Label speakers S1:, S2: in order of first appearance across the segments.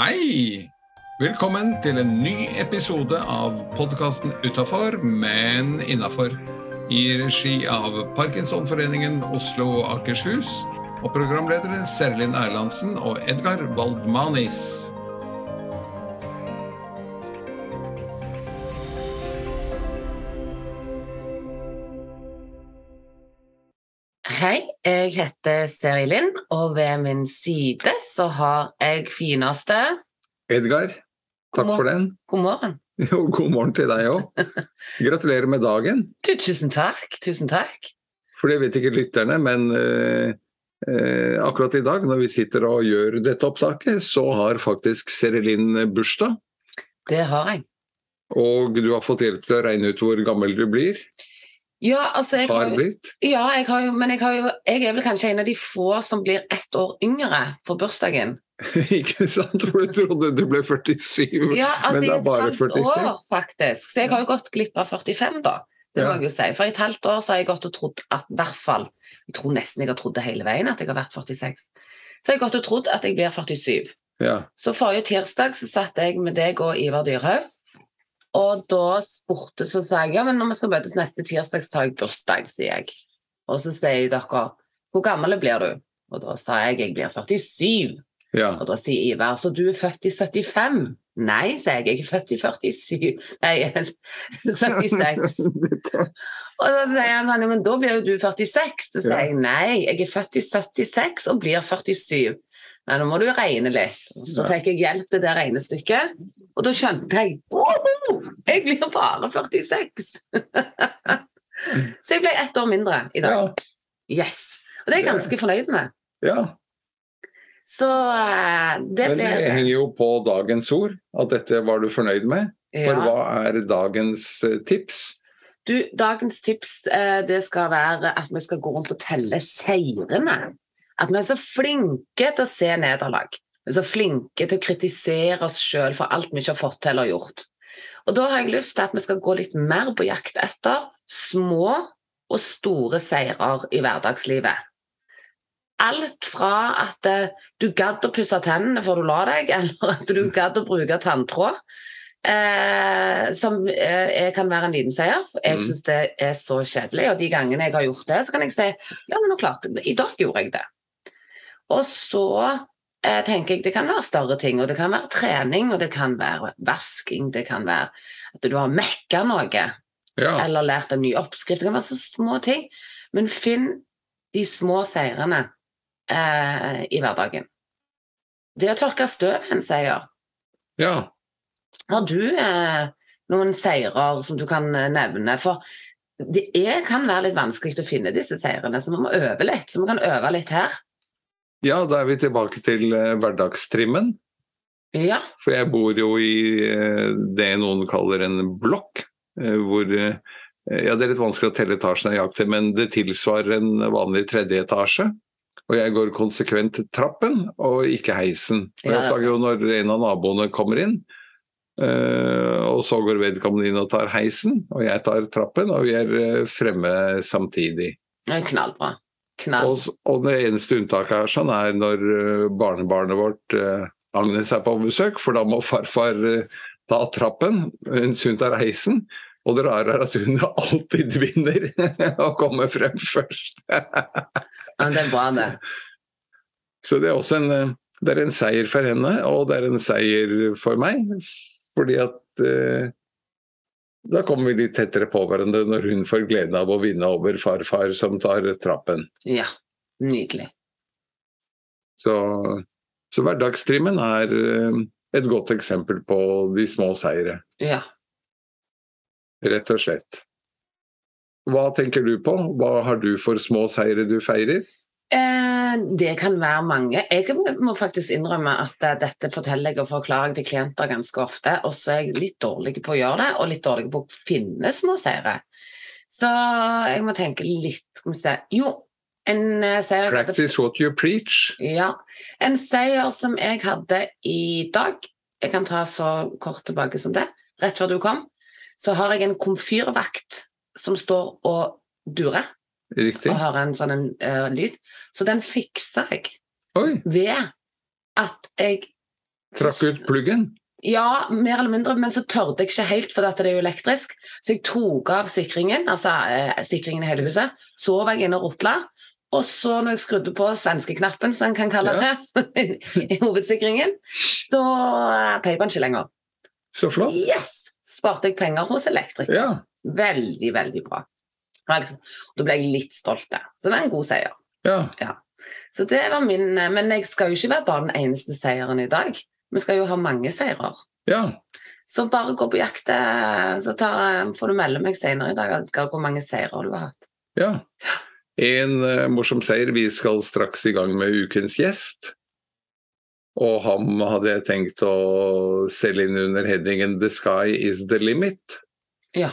S1: Hei! Velkommen til en ny episode av podkasten Utafor, men innafor. I regi av Parkinsonforeningen Oslo og Akershus og programledere Serlin Erlandsen og Edgar Baldmanis.
S2: Hei, jeg heter Seri Lind, og ved min side så har jeg fineste
S1: Edgar, takk
S2: God
S1: for den.
S2: God morgen.
S1: Jo, god morgen til deg òg. Gratulerer med dagen.
S2: Du, tusen takk. Tusen takk.
S1: For det vet ikke lytterne, men eh, eh, akkurat i dag når vi sitter og gjør dette opptaket, så har faktisk Serelin bursdag.
S2: Det har jeg.
S1: Og du har fått hjelp til å regne ut hvor gammel du blir.
S2: Ja, altså jeg har,
S1: Har blitt.
S2: ja, jeg har jo Men jeg, har jo, jeg er vel kanskje en av de få som blir ett år yngre på bursdagen.
S1: ikke sant? For du trodde du ble 47.
S2: Ja, altså
S1: Mm, Men det
S2: i
S1: er
S2: et
S1: bare
S2: halvt
S1: 46.
S2: år, faktisk. Så jeg har jo gått glipp av 45, da. Det må
S1: Ja.
S2: jeg jo si. For i et halvt år så har jeg gått og trodd at i hvert fall Jeg tror nesten jeg har trodd det hele veien, at jeg har vært 46. Så jeg har gått og trodd at jeg blir 47.
S1: Ja.
S2: Så forrige tirsdag så satt jeg med deg og Ivar Dyrhaug. Og da spurte så sa jeg ja, men når vi skal møtes neste tirsdag, så har jeg bursdag, sier jeg. Og så sier dere hvor gammel blir du? Og da sa jeg jeg blir 47.
S1: ja.
S2: Og da sier Ivar så du er født i 75. Nei, sier jeg, jeg er født i 47 Nei, 76. Og da sier han «Ja, men da blir jo du 46. Så sier
S1: Ja.
S2: jeg nei, jeg er født i 76 og blir 47. Nei, nå må du regne litt. Og Så
S1: Ja.
S2: fikk jeg hjelp til det regnestykket, og da skjønte jeg «Woho! jeg blir bare 46. så jeg ble ett år mindre i
S1: ja.
S2: dag. Yes. Og det er jeg ganske fornøyd med.
S1: ja.
S2: Så eh, det
S1: Men det
S2: blir
S1: henger jo på dagens ord, at dette var du fornøyd med. For
S2: ja.
S1: hva er dagens eh, tips?
S2: Du, dagens tips eh, det skal være at vi skal gå rundt og telle seirene. At vi er så flinke til å se nederlag. Vi er så flinke til å kritisere oss sjøl for alt vi ikke har fått til eller gjort. Og da har jeg lyst til at vi skal gå litt mer på jakt etter små og store seirer i hverdagslivet. Alt fra at eh, du gadd å pusse tennene før du la deg, eller at du gadd å bruke tanntråd. Eh, som eh, jeg kan være en liten seier. for Jeg
S1: Mm.
S2: syns det er så kjedelig. Og de gangene jeg har gjort det, så kan jeg si ja, men nå klarte jeg det. I dag gjorde jeg det. Og så eh, tenker jeg det kan være større ting. Og det kan være trening, og det kan være vasking, det kan være at du har mekka noe
S1: Ja.
S2: eller lært en ny oppskrift. Det kan være så små ting. Men finn de små seirene eh, i hverdagen. Det å tørke støv er en seier.
S1: ja.
S2: Har du eh, noen seirer som du kan eh, nevne? For det er, kan være litt vanskelig å finne disse seirene, så vi må øve litt. Så vi kan øve litt her.
S1: Ja, da er vi tilbake til eh, hverdagstrimmen.
S2: Ja.
S1: For jeg bor jo i eh, det noen kaller en blokk, eh, hvor eh, Ja, det er litt vanskelig å telle etasjene nøyaktig, men det tilsvarer en vanlig tredje etasje. Og jeg går konsekvent trappen og ikke heisen. Og jeg
S2: Ja.
S1: oppdager jo når en av naboene kommer inn, eh, og så går vedkommende inn og tar heisen, og jeg tar trappen, og vi er eh, fremme samtidig.
S2: det er Knallbra. Knall.
S1: Og, s- og det eneste unntaket er sånn er når eh, barnebarnet vårt eh, Agnes er på besøk, for da må farfar eh, ta trappen eh, mens hun tar heisen. Og det rare er at hun alltid vinner og kommer frem først.
S2: Ja, det er bra, det.
S1: Så det er også en, eh, det er en seier for henne, og det er en seier for meg. Fordi at eh, da kommer vi litt tettere på hverandre når hun får gleden av å vinne over farfar som tar trappen.
S2: Ja. Nydelig.
S1: Så, så hverdagstrimmen er eh, et godt eksempel på de små seire,
S2: Ja.
S1: rett og slett. Hva tenker du på? Hva har du for små seire du feirer?
S2: Eh, det kan være mange. Jeg må faktisk innrømme at eh, dette forteller jeg og forklarer jeg til klienter ganske ofte, og så er jeg litt dårlig på å gjøre det, og litt dårlig på å finne små seire. Så jeg må tenke litt Skal vi se Jo, en eh, seier jeg hadde-
S1: Practice what you preach.
S2: Ja. En seier som jeg hadde i dag Jeg kan ta så kort tilbake som det. Rett før du kom, så har jeg en komfyrvakt som står og durer
S1: Riktig.
S2: og hører en sånn en, eh, lyd. Så den fiksa jeg
S1: Oi,
S2: ved at jeg
S1: Trakk ut pluggen.
S2: Ja, mer eller mindre, men så tørde jeg ikke helt, for det er jo elektrisk. Så jeg tok av sikringen, altså eh, sikringen i hele huset. Sov jeg inne og rotla. Og så når jeg skrudde på svenskeknappen, som en kan kalle det, i hovedsikringen, så eh, peip den ikke lenger.
S1: Så flott.
S2: Yes! Sparte jeg penger hos elektriker.
S1: Ja.
S2: Veldig, veldig bra. Og jeg- Da ble jeg litt stolt der. Så det var en god seier.
S1: ja.
S2: Så det var min, eh, Men jeg skal jo ikke være bare den eneste seieren i dag. Vi skal jo ha mange seirer.
S1: Ja.
S2: Så bare gå på jakt, eh, så tar, får du melde meg senere i dag Edgar, hvor mange seirer du har hatt.
S1: ja. En eh, morsom seier. Vi skal straks i gang med ukens gjest. Og ham hadde jeg tenkt å selge inn under headingen 'The sky is the limit'.
S2: Ja.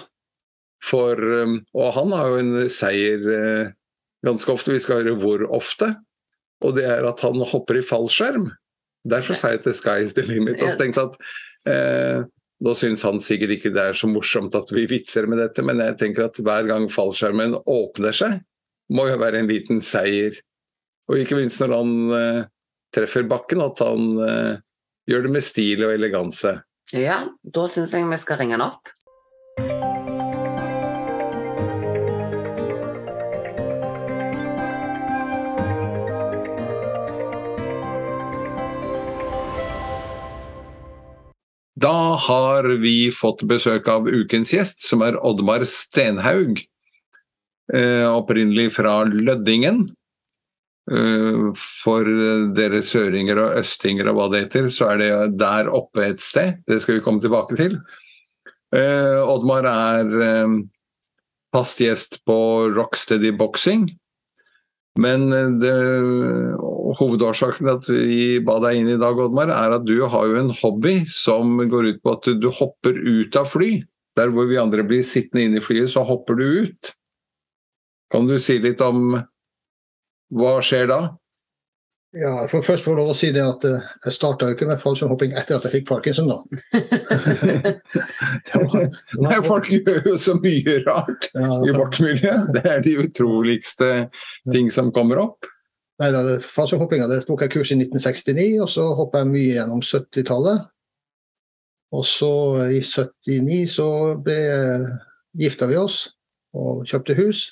S1: For, um, og han har jo en seier eh, ganske ofte, vi skal høre hvor ofte. Og det er at han hopper i fallskjerm. Derfor sa jeg at the sky is the limit. Og så tenkte jeg at eh, nå syns han sikkert ikke det er så morsomt at vi vitser med dette, men jeg tenker at hver gang fallskjermen åpner seg, må jo være en liten seier. Og ikke minst når han eh, treffer bakken, at han eh, gjør det med stil og eleganse.
S2: Ja, da syns jeg vi skal ringe han opp.
S1: Da har vi fått besøk av ukens gjest, som er Oddmar Stenhaug. Eh, opprinnelig fra Lødingen. Eh, for dere søringer og østinger og hva det heter, så er det der oppe et sted. Det skal vi komme tilbake til. Eh, Oddmar er eh, fast gjest på Rocksteady Boxing. Men eh, det, hovedårsaken til at vi ba deg inn i dag, Oddmar, er at du har jo en hobby som går ut på at du hopper ut av fly. Der hvor vi andre blir sittende inne i flyet, så hopper du ut. Kan du si litt om hva skjer da?
S3: Ja, jeg får først få lov å si det at eh, jeg starta jo ikke med fallskjermhopping etter at jeg fikk parkinson, da. Det var-
S1: Nei, folk gjør jo så mye rart i
S3: ja,
S1: vårt miljø. Det er de utroligste ting som kommer opp.
S3: nei da, det- fallskjermhoppinga det tok jeg kurs i 1969, og så hoppa jeg mye gjennom 70-tallet. Og så eh, i 79 så ble gifta vi oss og kjøpte hus.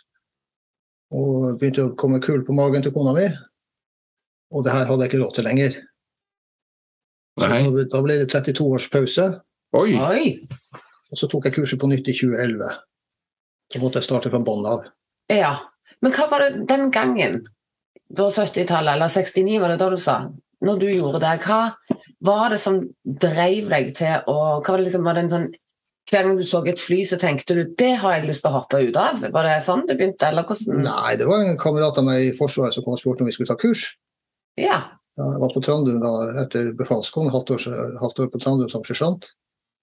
S3: Og begynte å komme kul på magen til kona mi. Og det her hadde jeg ikke råd til lenger. Så
S1: Nei.
S3: da- da ble det 32 års pause.
S1: Oi!
S2: Oi!
S3: Og så tok jeg kurset på nytt i 2011. Så måtte jeg starte fra bånn av.
S2: Ja. Men hva var det den gangen, på 70-tallet, eller 69, var det da du sa? Når du gjorde det, hva var det som dreiv deg til å hva var det liksom, var det en sånn, Hver gang du så et fly, så tenkte du 'det har jeg lyst til å hoppe ut av'? Var det sånn det begynte, eller hvordan?
S3: Nei, det var en kamerat av meg i Forsvaret som kom og spurte om vi skulle ta kurs.
S2: Ja.
S3: Ja, Jeg var på Trandum da etter befalsskolen, halvt, år- halvt år på Trandum som sersjant.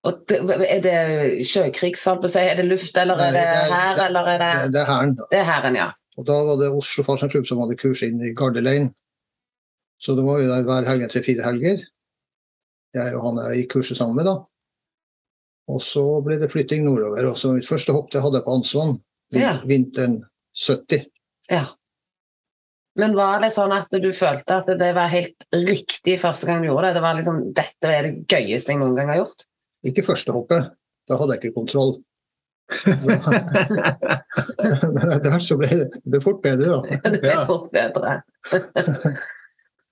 S2: Og det, er det sjøkrig, sånn på å si? Er det luft, eller er det her, eller er det
S3: Det, det er Hæren. da.
S2: Det er hæren, ja.
S3: Og da var det Oslo Fallskjermklubb som hadde kurs inn i Gardelein. Så da var vi der hver helg tre-fire helger. Jeg og han jeg gikk kurset sammen med, da. Og så ble det flytting nordover. Og så mitt første hopp det hadde jeg på Ansvann vin-
S2: Ja.
S3: vinteren 70.
S2: ja. Men var det sånn at du følte at det var helt riktig første gang du gjorde det? Det var liksom, Dette er det gøyeste jeg noen gang har gjort?
S3: Ikke første hoppet. Da hadde jeg ikke kontroll. Men etter hvert så ble det, det ble fort bedre, da.
S2: Det
S1: Ja.
S2: er fort bedre.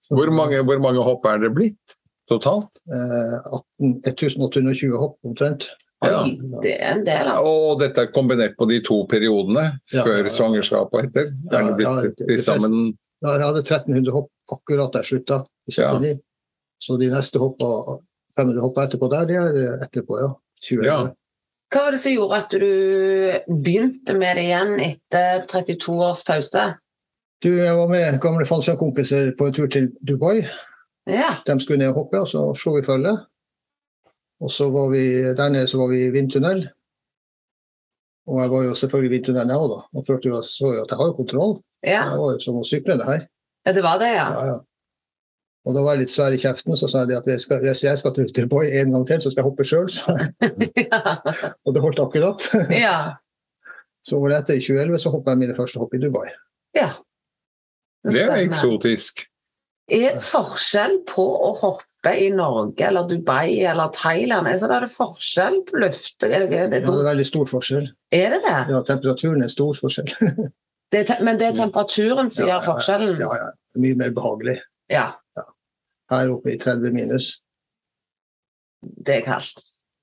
S3: Så,
S1: Hvor mange, hvor mange hopp er det blitt totalt?
S3: Eh, 18, 1820 hopp omtrent.
S1: Ja.
S2: Oi, det er en del, altså.
S1: Og dette er kombinert på de to periodene,
S3: Ja.
S1: før svangerskap og etter.
S3: Ja,
S1: Er det
S3: ja,
S1: blitt
S3: det-
S1: til sammen
S3: Ja, Jeg hadde 1300 hopp akkurat da jeg slutta i 79. Så de neste hoppa, 500 hoppa etterpå der, de er eh, etterpå, ja. 20
S1: Ja.
S2: Hva var det som gjorde at du begynte med det igjen etter 32 års pause?
S3: Du, jeg var med gamle fallskjermkompiser på en tur til Dubai.
S2: Ja.
S3: De skulle ned og hoppe, og så slo vi følge. Og så var vi der nede så var vi i vindtunnel. Og jeg var jo selvfølgelig i vindtunnelen, jeg òg, da. Og følte jo, så jo at jeg har jo kontroll.
S2: ja.
S3: Det var jo som å sykle, det her.
S2: Ja, Det var det, ja.
S3: Ja, ja. Og da var jeg litt svær i kjeften, så sa jeg det at jeg skal, hvis jeg skal til Dubai en gang til, så skal jeg hoppe sjøl.
S2: Ja.
S3: Og det holdt akkurat.
S2: ja.
S3: Så året etter, i 2011, så hoppa jeg mine første hopp i Dubai.
S2: ja.
S1: Det er
S2: Spennende.
S1: eksotisk.
S2: Er forskjell på å hoppe oppe i Norge eller Dubai eller Thailand? Altså, da er det forskjell på luft. Er det, er det,
S3: Ja, det er veldig stor forskjell.
S2: er det, det?
S3: Ja, temperaturen er stor forskjell.
S2: det? er te- Men det er temperaturen som
S3: Ja,
S2: gjør forskjellen?
S3: Ja, ja. Mye mer behagelig.
S2: Ja.
S3: Her oppe i 30 minus.
S2: Det er kaldt.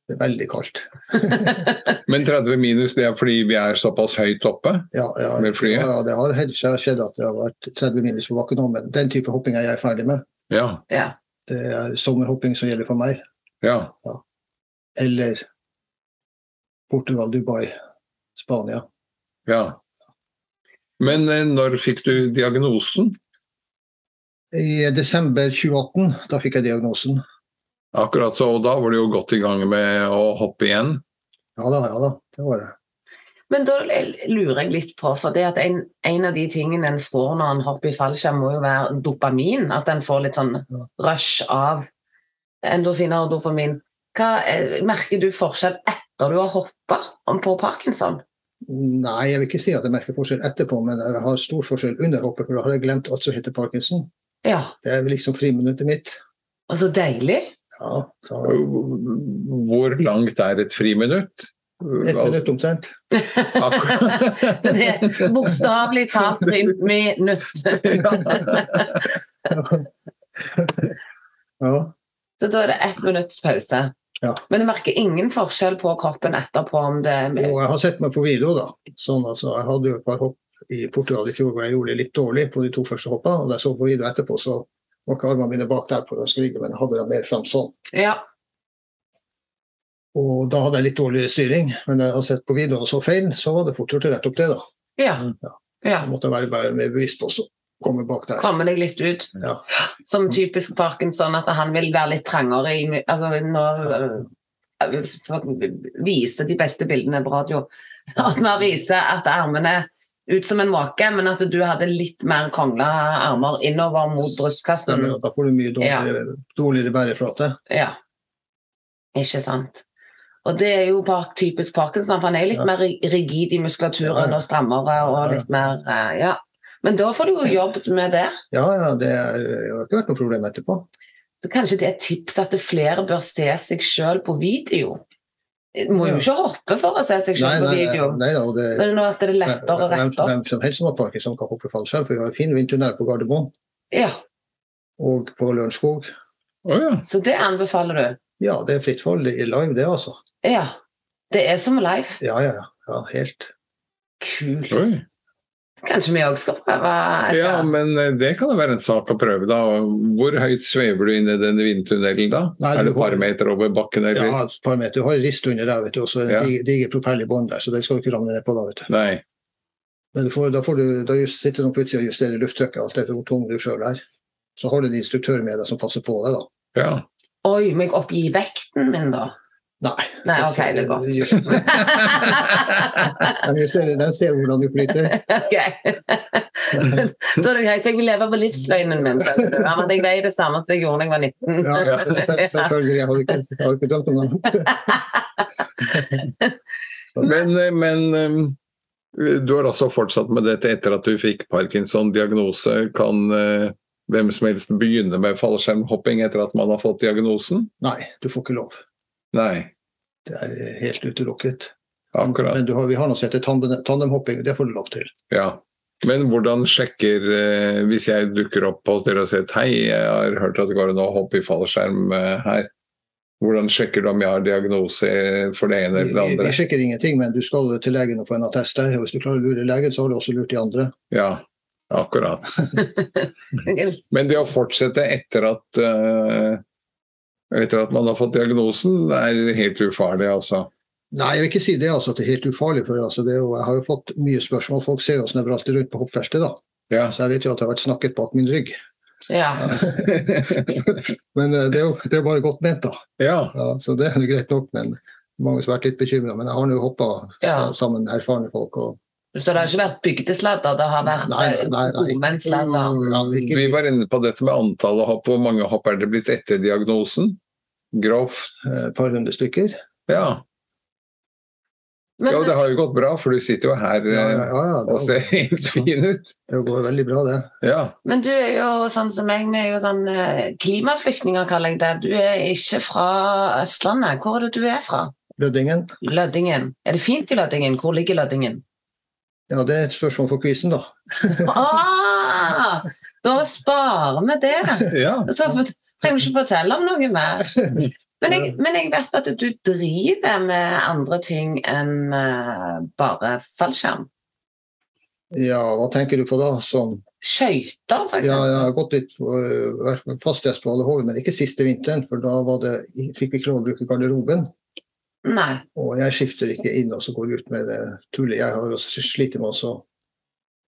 S3: Det er veldig kaldt.
S1: Men 30 minus, det er fordi vi er såpass høyt oppe?
S3: Ja, ja,
S1: Med flyet?
S3: ja, det har helt skje- skjedd at det har vært 30 minus på bakken òg, men den type hopping er jeg ferdig med.
S1: Ja.
S2: Ja.
S3: Det er sommerhopping som gjelder for meg.
S1: ja.
S3: Eller Portugal, Dubai, Spania.
S1: Ja. Men eh, når fikk du diagnosen?
S3: I desember 2018, da fikk jeg diagnosen.
S1: Akkurat så, og da var du jo godt i gang med å hoppe igjen.
S3: Ja da, ja da, det var det.
S2: Men da lurer jeg litt på, for det at en, en av de tingene en får når en hopper i fallskjerm, må jo være dopamin. At en får litt sånn rush av endorfiner og dopamin. Hva, eh, merker du forskjell etter du har hoppa på parkinson?
S3: Nei, jeg vil ikke si at jeg merker forskjell etterpå, men jeg har stor forskjell under hoppet, for da har jeg glemt alt som heter parkinson.
S2: Ja,
S3: Det er liksom friminuttet mitt.
S2: og så deilig.
S3: Ja, da,
S1: Hvor langt er et friminutt?
S3: et minutt omtrent.
S1: Akkurat.
S2: Så Altså, det er bokstavelig talt med, med nøtt.
S3: Ja.
S2: Så da er det ett minutts pause.
S3: Ja.
S2: Men du merker ingen forskjell på kroppen etterpå om det
S3: Jo, jeg har sett meg på video, da. Sånn, altså, jeg hadde jo et par hopp i Portugal i fjor hvor jeg gjorde det litt dårlig på de to første hoppa. Og da jeg så på video etterpå, så var ikke armene mine bak der på den skriget, men jeg hadde dem mer fram sånn.
S2: Ja.
S3: Og da hadde jeg litt dårligere styring, men da jeg har sett på videoen og så feil, så var det fort gjort å rette opp det, da.
S2: Ja.
S3: Ja.
S2: ja.
S3: Jeg måtte være bare mer bevisst på å komme bak der.
S2: Komme deg litt ut.
S3: Ja.
S2: Som typisk Parkinson, at han vil være litt trangere i altså, Nå øh, for å vise de beste bildene på radio. At man viser at armene ut som en måke, men at du hadde litt mer krongla armer innover mot brystkassen.
S3: Stemmer, og da får du mye dårligere, dårligere bæreflate.
S2: Ja. Ikke sant. Og det er jo par typisk Parkinson, for han er jo litt
S3: Ja.
S2: mer ri- rigid i muskulaturen
S3: Ja, ja.
S2: og strammere og
S3: Ja, ja.
S2: litt mer eh, Ja. Men da får du jo jobbet med det.
S3: Ja, ja, det er, det har ikke vært noe problem etterpå.
S2: Så kanskje det er et tips at flere bør se seg sjøl på video. Du må jo
S3: Ja.
S2: ikke hoppe for å se seg
S3: Nei,
S2: sjøl på
S3: nei, nei,
S2: video.
S3: nei da, og det,
S2: Men nå at det er lettere å
S3: hvem,
S2: rette opp.
S3: hvem som helst som har parkinson, kan hoppe fallskjerm, for vi har en fin vintertunnel på Gardermoen
S2: Ja,
S3: og på Lørenskog.
S1: Å ja.
S2: Så det anbefaler du.
S3: Ja, det er fritt fall i live, det, altså.
S2: Ja. Det er som live.
S3: Ja, ja, ja. ja helt.
S2: Kult.
S1: Oi.
S2: Kanskje vi òg skal prøve et
S1: Ja,
S2: gang.
S1: men eh, det kan jo være en sak å prøve, da. Hvor høyt svever du inn i den vindtunnelen da?
S3: Nei,
S1: er det
S3: du
S1: et par
S3: holder-
S1: meter over bakken, eller?
S3: Ja, et par meter. Du har en rist under der, vet du, og så en
S1: Ja.
S3: diger- diger propell i bånn der, så den skal du ikke ramle ned på da, vet du.
S1: Nei.
S3: Men du får, da, får du, da just, sitter noen plutselig og justerer lufttrykket, alt etter hvor tung du sjøl er. Så har du en instruktør med deg som passer på deg, da.
S1: Ja.
S2: Oi, må jeg oppgi vekten min, da?
S3: Nei.
S2: Nei, ok, det er godt.
S3: godt. De ser hvordan du flyter.
S2: Ok. da er det greit, for jeg vil leve på livsløgnen min. skjønner du. Ja, men jeg veier det samme som jeg gjorde da jeg var 19.
S3: Ja,
S1: Ja.
S3: selv- selvfølgelig. Jeg hadde ikke, jeg hadde ikke drømt om det.
S1: Men, eh, men eh, du har altså fortsatt med dette etter at du fikk Parkinson-diagnose. Kan eh, hvem som helst begynne med fallskjermhopping etter at man har fått diagnosen?
S3: Nei, du får ikke lov.
S1: Nei.
S3: Det er helt utelukket.
S1: Akkurat.
S3: Men du har, vi har noe som heter tandem- tandemhopping, det får du lov til.
S1: Ja. Men hvordan sjekker eh, Hvis jeg dukker opp hos dere og sier hei, jeg har hørt at det går an å hoppe i fallskjerm eh, her. Hvordan sjekker du om jeg har diagnose for det ene
S3: Vi,
S1: eller det
S3: vi, vi
S1: andre?
S3: sjekker ingenting, men du skal til legen og få en attest der. Og hvis du klarer å lure legen, så har du også lurt de andre.
S1: Ja, akkurat. Men det å fortsette etter at eh, etter at man har fått diagnosen, er helt ufarlig, altså.
S3: Nei, jeg vil ikke si det, altså, at det er helt ufarlig. for altså, det er jo, Jeg har jo fått mye spørsmål. Folk ser oss når vi alltid rundt på hoppfeltet, da.
S1: Ja.
S3: Så jeg vet jo at det har vært snakket bak min rygg.
S2: Ja.
S3: Men eh, det er jo det er jo bare godt ment, da.
S1: ja.
S3: Ja, så det er jo greit nok, men mange som har vært litt bekymra. Men jeg har nå hoppa
S2: Ja.
S3: sammen med erfarne folk. og
S2: Så det har ikke vært bygdesladder, det har vært eh,
S3: Nei, nei, nei, nei. Mm,
S2: omvendsladder.
S3: Ja, vi-
S1: Vi var inne på dette med antallet hopp. Hvor mange hopp er det blitt etter diagnosen? Grovt?
S3: eh, et par hundre stykker.
S1: Ja.
S2: Men,
S1: Jo, det har jo gått bra, for du sitter jo her
S3: Ja, ja,
S1: eh,
S3: ja, ja
S1: og
S3: det,
S1: ser helt fin ut.
S3: det går veldig bra, det.
S1: Ja.
S2: men du er jo sånn som meg, vi er jo sånn eh, klimaflyktninger, kaller jeg det. Du er ikke fra Østlandet. Hvor er det du er fra?
S3: Lødingen.
S2: Lødingen. Er det fint i Lødingen? Hvor ligger Lødingen?
S3: Ja, det er et spørsmål for quizen, da.
S2: Ah, da sparer vi det.
S1: ja.
S2: Så for- trenger du ikke fortelle om noe mer. Men jeg, men jeg vet at du driver med andre ting enn eh, bare fallskjerm.
S3: Ja, hva tenker du på da? Sånn.
S2: Skøyter, for
S3: Ja, jeg
S2: eksempel.
S3: har gått litt øh, vært med fastgjest på Alehove, men ikke siste vinteren, for da var det, fikk vi ikke lov å bruke garderoben.
S2: Nei.
S3: Og jeg skifter ikke inn og så går jeg ut med det tullet. Jeg har også slitt med å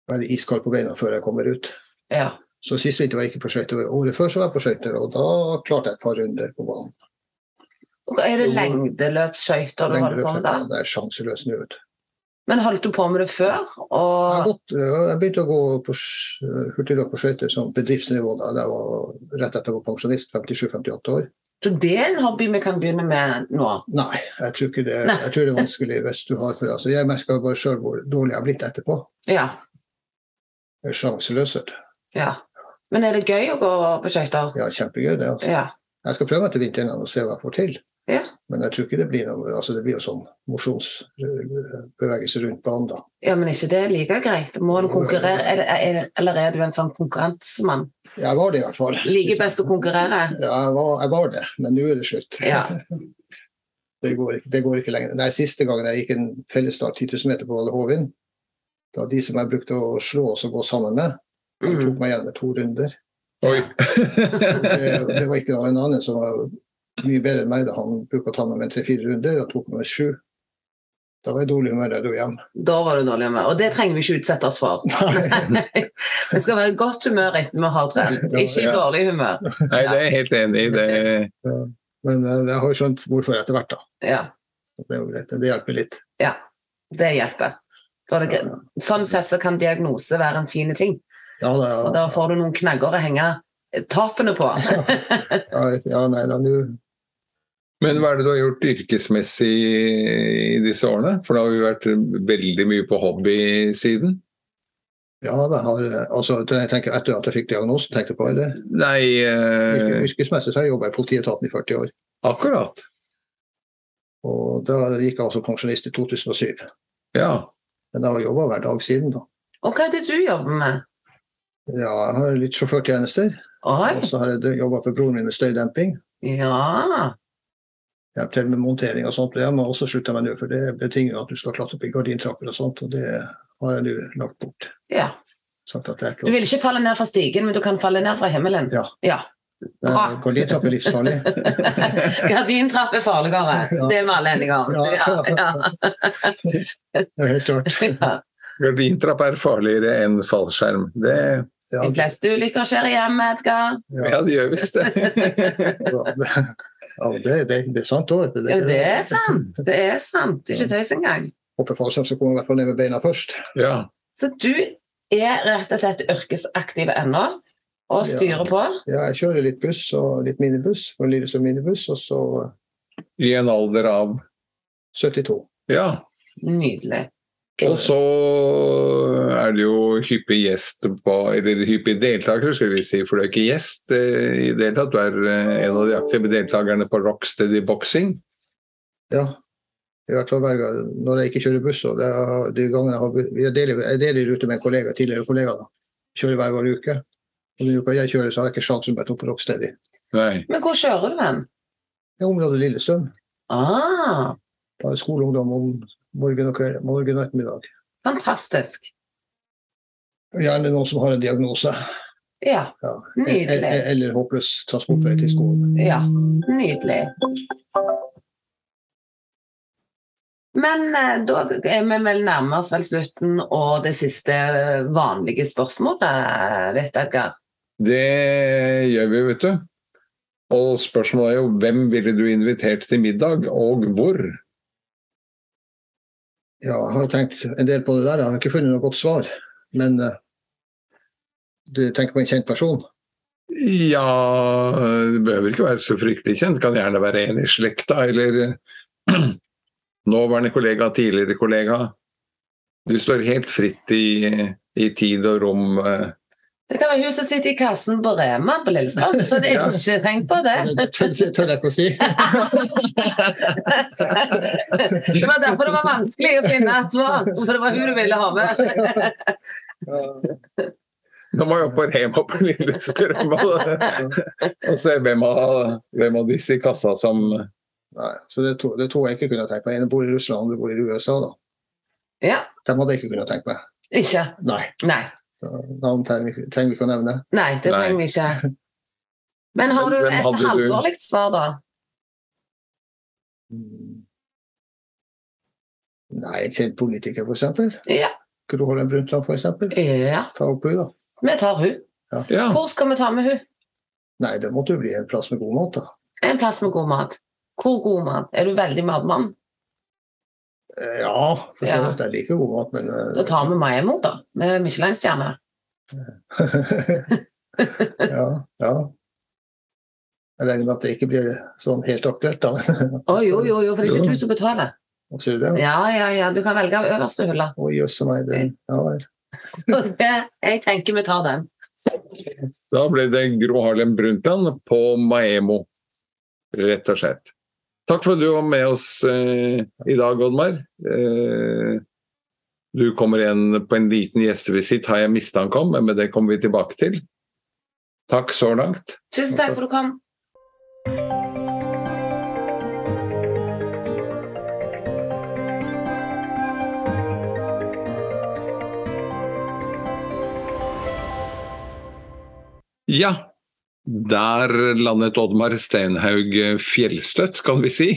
S3: være iskald på beina før jeg kommer ut.
S2: Ja.
S3: Så sist vinter var jeg ikke på skøyter. Året før så var jeg på skøyter, og da klarte jeg et par runder på banen.
S2: Og er det
S3: Jo.
S2: lengdeløpsskøyter du holder på med der?
S3: Det er sjanseløs nå, vet du.
S2: Men holdt du på med det før?
S3: Jeg, har
S2: Og
S3: gått, øh, jeg begynte å gå på sk- hurtigløp på skøyter som bedriftsnivå da jeg var rett etter å var pensjonist, 57-58 år.
S2: så det er en hobby vi kan begynne med nå?
S3: Nei, jeg tror ikke det,
S2: Nei.
S3: jeg tror det er vanskelig hvis du har for altså, Jeg merker bare sjøl hvor dårlig jeg har blitt etterpå.
S2: Ja.
S3: Jeg er sjanseløs, vet du.
S2: ja. Men er det gøy å gå på skøyter?
S3: Ja, kjempegøy det. altså.
S2: Ja.
S3: Jeg skal prøve meg til vinteren igjen og se hva jeg får til.
S2: Ja.
S3: Men jeg tror ikke det blir noe altså Det blir jo sånn mosjonsbevegelse rundt banen, da.
S2: Ja, men ikke det er like greit. Må du konkurrere, er det- er det- eller er du en sånn konkurransemann?
S3: Jeg var det i hvert fall.
S2: Liker best å konkurrere?
S3: Ja, jeg var, jeg var det, men nå er det slutt.
S2: Ja.
S3: Det går ikke, det går ikke lenger. Nei, siste gangen jeg gikk en fellesstart 10 000 meter på Valle Hovin, da de som jeg brukte å slå oss og gå sammen med, de
S2: Mm.
S3: tok meg igjen med to runder.
S1: Oi.
S3: Det, det var ikke noe en annen som var mye bedre enn meg. da Han bruker å ta meg med tre-fire runder, og tok meg med sju. Da var jeg i dårlig humør da jeg dro hjem.
S2: Da var du dårlig med, og det trenger vi ikke utsette oss for. Vi skal være i godt humør etter vi har trent, ikke i
S1: Ja.
S2: dårlig humør.
S1: Nei, det er jeg helt enig i. Det,
S3: Men eh, jeg har jo skjønt hvorfor etter hvert, da.
S2: Ja,
S3: Det, er jo greit, det hjelper litt.
S2: det hjelper. Da er det
S3: Ja,
S2: greit. Sånn sett så kan diagnose være en fin ting.
S3: ja, da,
S2: For da får du noen knagger å henge tapene på.
S3: ja, ja, nei da, nå
S1: men hva er det du har gjort yrkesmessig i disse årene? For da har vi vært veldig mye på hobbysiden.
S3: Ja, det har, altså, det- jeg tenker, etter at jeg fikk diagnosen, tenker jeg på det.
S1: Nei,
S3: Yrke-
S1: eh,
S3: Yrkesmessig så har jeg jobba i politietaten i 40 år.
S1: akkurat.
S3: Og da gikk jeg altså pensjonist i 2007.
S1: Ja.
S3: Men jeg har jobba hver dag siden, da.
S2: Og hva er det du jobber med?
S3: Ja, jeg har litt sjåførtjenester.
S2: Oi,
S3: Og så har jeg jobba for broren min med støydemping.
S2: ja.
S3: Hjelp til med montering og sånt. Det må jeg også slutte med nå, for det betinger jo at du skal klatre opp i gardintrapper og sånt, og det har jeg nå lagt bort.
S2: ja.
S3: Sagt at det er
S2: Du
S3: ikke
S2: vil ikke falle ned fra stigen, men du kan falle ned fra himmelen.
S3: Ja.
S2: Ja. bra.
S3: Nei, Gardintrapp er livsfarlig.
S2: Gardintrapp er farligere,
S3: Ja.
S2: det er vi alle enige om.
S3: Ja.
S2: Ja, ja.
S3: Det er helt klart.
S1: Gardintrapp er farligere enn fallskjerm. Det,
S3: Ja,
S2: De
S3: det,
S2: fleste ulykker skjer i hjemmet, Edgar.
S1: ja, det gjør visst det.
S3: ja, det, ja, det, det, det er sant òg.
S2: Ja, det er sant. Det er sant. Ikke tøys engang.
S3: Hopper fallskjerm, så kommer man i hvert fall ned med beina først.
S1: ja.
S2: Så du er rett og slett yrkesaktiv ennå, og styrer på.
S3: Ja, jeg kjører litt buss og litt minibuss, for Lyrus og minibuss, og så
S1: I en alder av
S3: 72.
S1: Ja.
S2: Nydelig.
S1: Og så er det jo hyppig gjest på Eller hyppig deltaker, skulle vi si, for du er ikke gjest eh, i det hele tatt. Du er eh, en av de aktive deltakerne på Rocksteady Boxing.
S3: Ja. I hvert fall hver gang når jeg ikke kjører buss. Og det er, de gangene jeg, har, bu- jeg, deler, jeg deler rute med en kollega, tidligere kollega. da. Kjører hver vår uke. Og den uka jeg kjører, så har jeg ikke sjans til å møte opp på Rocksteady.
S1: Nei.
S2: Men hvor kjører du hen?
S3: Det er området Lillestrøm.
S2: Ah,
S3: Da er det skoleungdom om morgen og, kveld, morgen og ettermiddag.
S2: fantastisk.
S3: Og Gjerne noen som har en diagnose.
S2: Ja,
S3: Ja.
S2: Nydelig. Mm.
S3: Eller, eller håpløs transportvei til skolen.
S2: ja. Nydelig. Men eh, da er vi vel nærmer oss vel slutten og det siste eh, vanlige spørsmålet ditt, Edgar.
S1: Det gjør vi, vet du. Og spørsmålet er jo hvem ville du invitert til middag, og hvor?
S3: Ja, jeg har tenkt en del på det der. Jeg har ikke funnet noe godt svar. Men eh, du tenker på en kjent person?
S1: Ja Det behøver ikke være så fryktelig kjent. Kan gjerne være en i slekta, eller nåværende kollega, tidligere kollega. Du står helt fritt i, i tid og rom. eh.
S2: Det kan være hun som sitter i kassen på Rema på Lillestrøm, så det er
S1: Ja.
S2: ikke tenk på det.
S3: Det tør, det tør jeg ikke å si.
S2: Det var derfor det var vanskelig å finne et svar, for det var hun du ville ha med.
S1: Nå må jeg opp på Rema på Lillestrøm og, og se hvem av, hvem av disse i kassa som
S3: Nei, så det, er to, det er to jeg ikke kunne tenkt meg. En bor i Russland, andre bor i USA. da.
S2: Ja,
S3: Dem hadde jeg ikke kunnet tenkt meg.
S2: ikke.
S3: Nei.
S2: Nei.
S3: Navn trenger vi ikke- trenger vi ikke å nevne.
S2: Nei, det
S1: Nei.
S2: trenger vi ikke. Men har du
S1: Hvem
S2: et
S1: hadde du?
S2: halvårlig svar, da?
S3: Mm. Nei, en kjent politiker, f.eks.
S2: Ja.
S3: Gro Harlem Brundtland, f.eks.
S2: ja.
S3: Ta opp henne, da.
S2: Vi tar hun.
S1: Ja,
S2: Hvor skal vi ta med hun?
S3: Nei, det måtte jo bli en plass med god mat, da.
S2: En plass med god mat. Hvor god mat? Er du veldig matmann?
S3: Eh, Ja, for så
S2: Ja.
S3: vidt. Jeg liker god mat, men eh,
S2: Da tar vi Maemo, da. Med Michelin-stjerne.
S3: ja, ja. Jeg regner med at det ikke blir sånn helt aktuelt, da.
S2: Å jo, jo, jo, for det er
S1: Jo.
S2: ikke du som betaler.
S3: Og så er det, ja.
S2: Ja, ja, ja. Du kan velge av øverste hylle.
S3: Å, jøss og meg, det Ja vel.
S2: Så det- Jeg tenker vi tar den.
S1: da ble det Gro Harlem Brundtland på Maemo, rett og slett. Takk for at du var med oss eh, i dag, Oddmar. Eh, du kommer igjen på en liten gjestevisitt, har jeg mistanke om, men det kommer vi tilbake til. Takk så langt.
S2: Tusen takk for at du kom.
S1: Ja, der landet Oddmar Stenhaug fjellstøtt, kan vi si.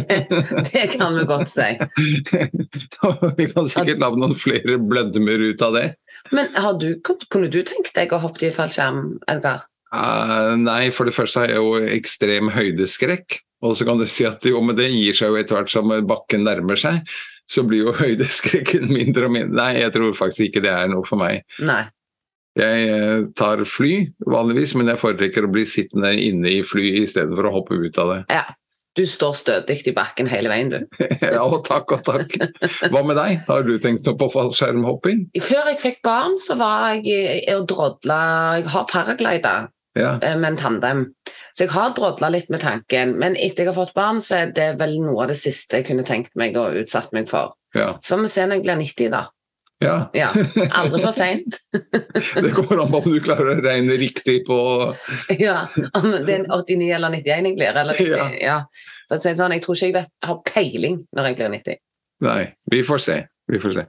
S2: Det kan vi godt si.
S1: vi kan sikkert lage noen flere blødmer ut av det.
S2: Men har du, kunne du tenkt deg å hoppe i fallskjerm, Edgar?
S1: Eh, nei, for det første har jeg jo ekstrem høydeskrekk. Og så kan du si at jo, men det gir seg jo etter hvert som bakken nærmer seg. Så blir jo høydeskrekken mindre og mindre. Nei, jeg tror faktisk ikke det er noe for meg.
S2: Nei.
S1: Jeg eh, tar fly vanligvis, men jeg foretrekker å bli sittende inne i fly istedenfor å hoppe ut av det.
S2: Du står stødig i bakken hele veien, du.
S1: Ja, og takk og takk. Hva med deg? Har du tenkt noe på fallskjermhopping?
S2: Før jeg fikk barn, så var jeg i- i- og drodla Jeg har paraglider
S1: Ja.
S2: eh, med en tandem, så jeg har drodla litt med tanken. Men etter jeg har fått barn, så er det vel noe av det siste jeg kunne tenkt meg og utsatt meg for.
S1: ja.
S2: Så får vi se når jeg blir 90, da.
S1: ja.
S2: Ja, Aldri for seint.
S1: Det kommer an på om du klarer å regne riktig på
S2: Ja, om det er en 89 eller 91 jeg blir. Eller 90, ja.
S1: Ja.
S2: For å si det sånn, jeg tror ikke jeg vet, har peiling når jeg blir 90.
S1: Nei, vi får se. Vi får se.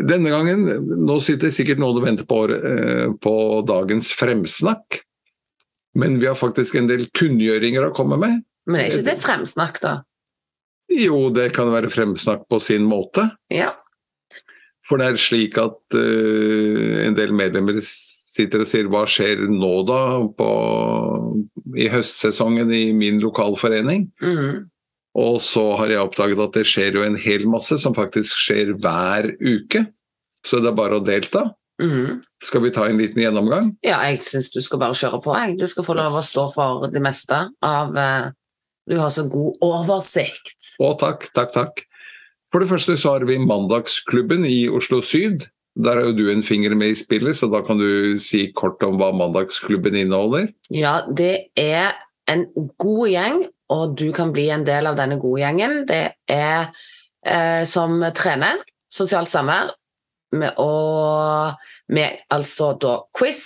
S1: Denne gangen, nå sitter sikkert noen og venter på, eh, på dagens fremsnakk. Men vi har faktisk en del kunngjøringer å komme med.
S2: Men er ikke det fremsnakk, da?
S1: Jo, det kan være fremsnakk på sin måte.
S2: Ja.
S1: For det er slik at eh, en del medlemmer sitter og sier hva skjer nå da på, i høstsesongen i min lokalforening.
S2: Mhm.
S1: Og så har jeg oppdaget at det skjer jo en hel masse som faktisk skjer hver uke. Så det er bare å delta.
S2: Mhm.
S1: Skal vi ta en liten gjennomgang?
S2: Ja, jeg syns du skal bare kjøre på. Jeg. Du skal få lov å stå for det meste av eh, Du har så god oversikt.
S1: Å, takk, takk, takk. For det første så har vi Mandagsklubben i Oslo Syd. Der har jo du en finger med i spillet, så da kan du si kort om hva Mandagsklubben inneholder.
S2: Ja, det er en god gjeng, og du kan bli en del av denne gode gjengen. Det er eh, som trener, sosialt samvær, med, og med altså da quiz,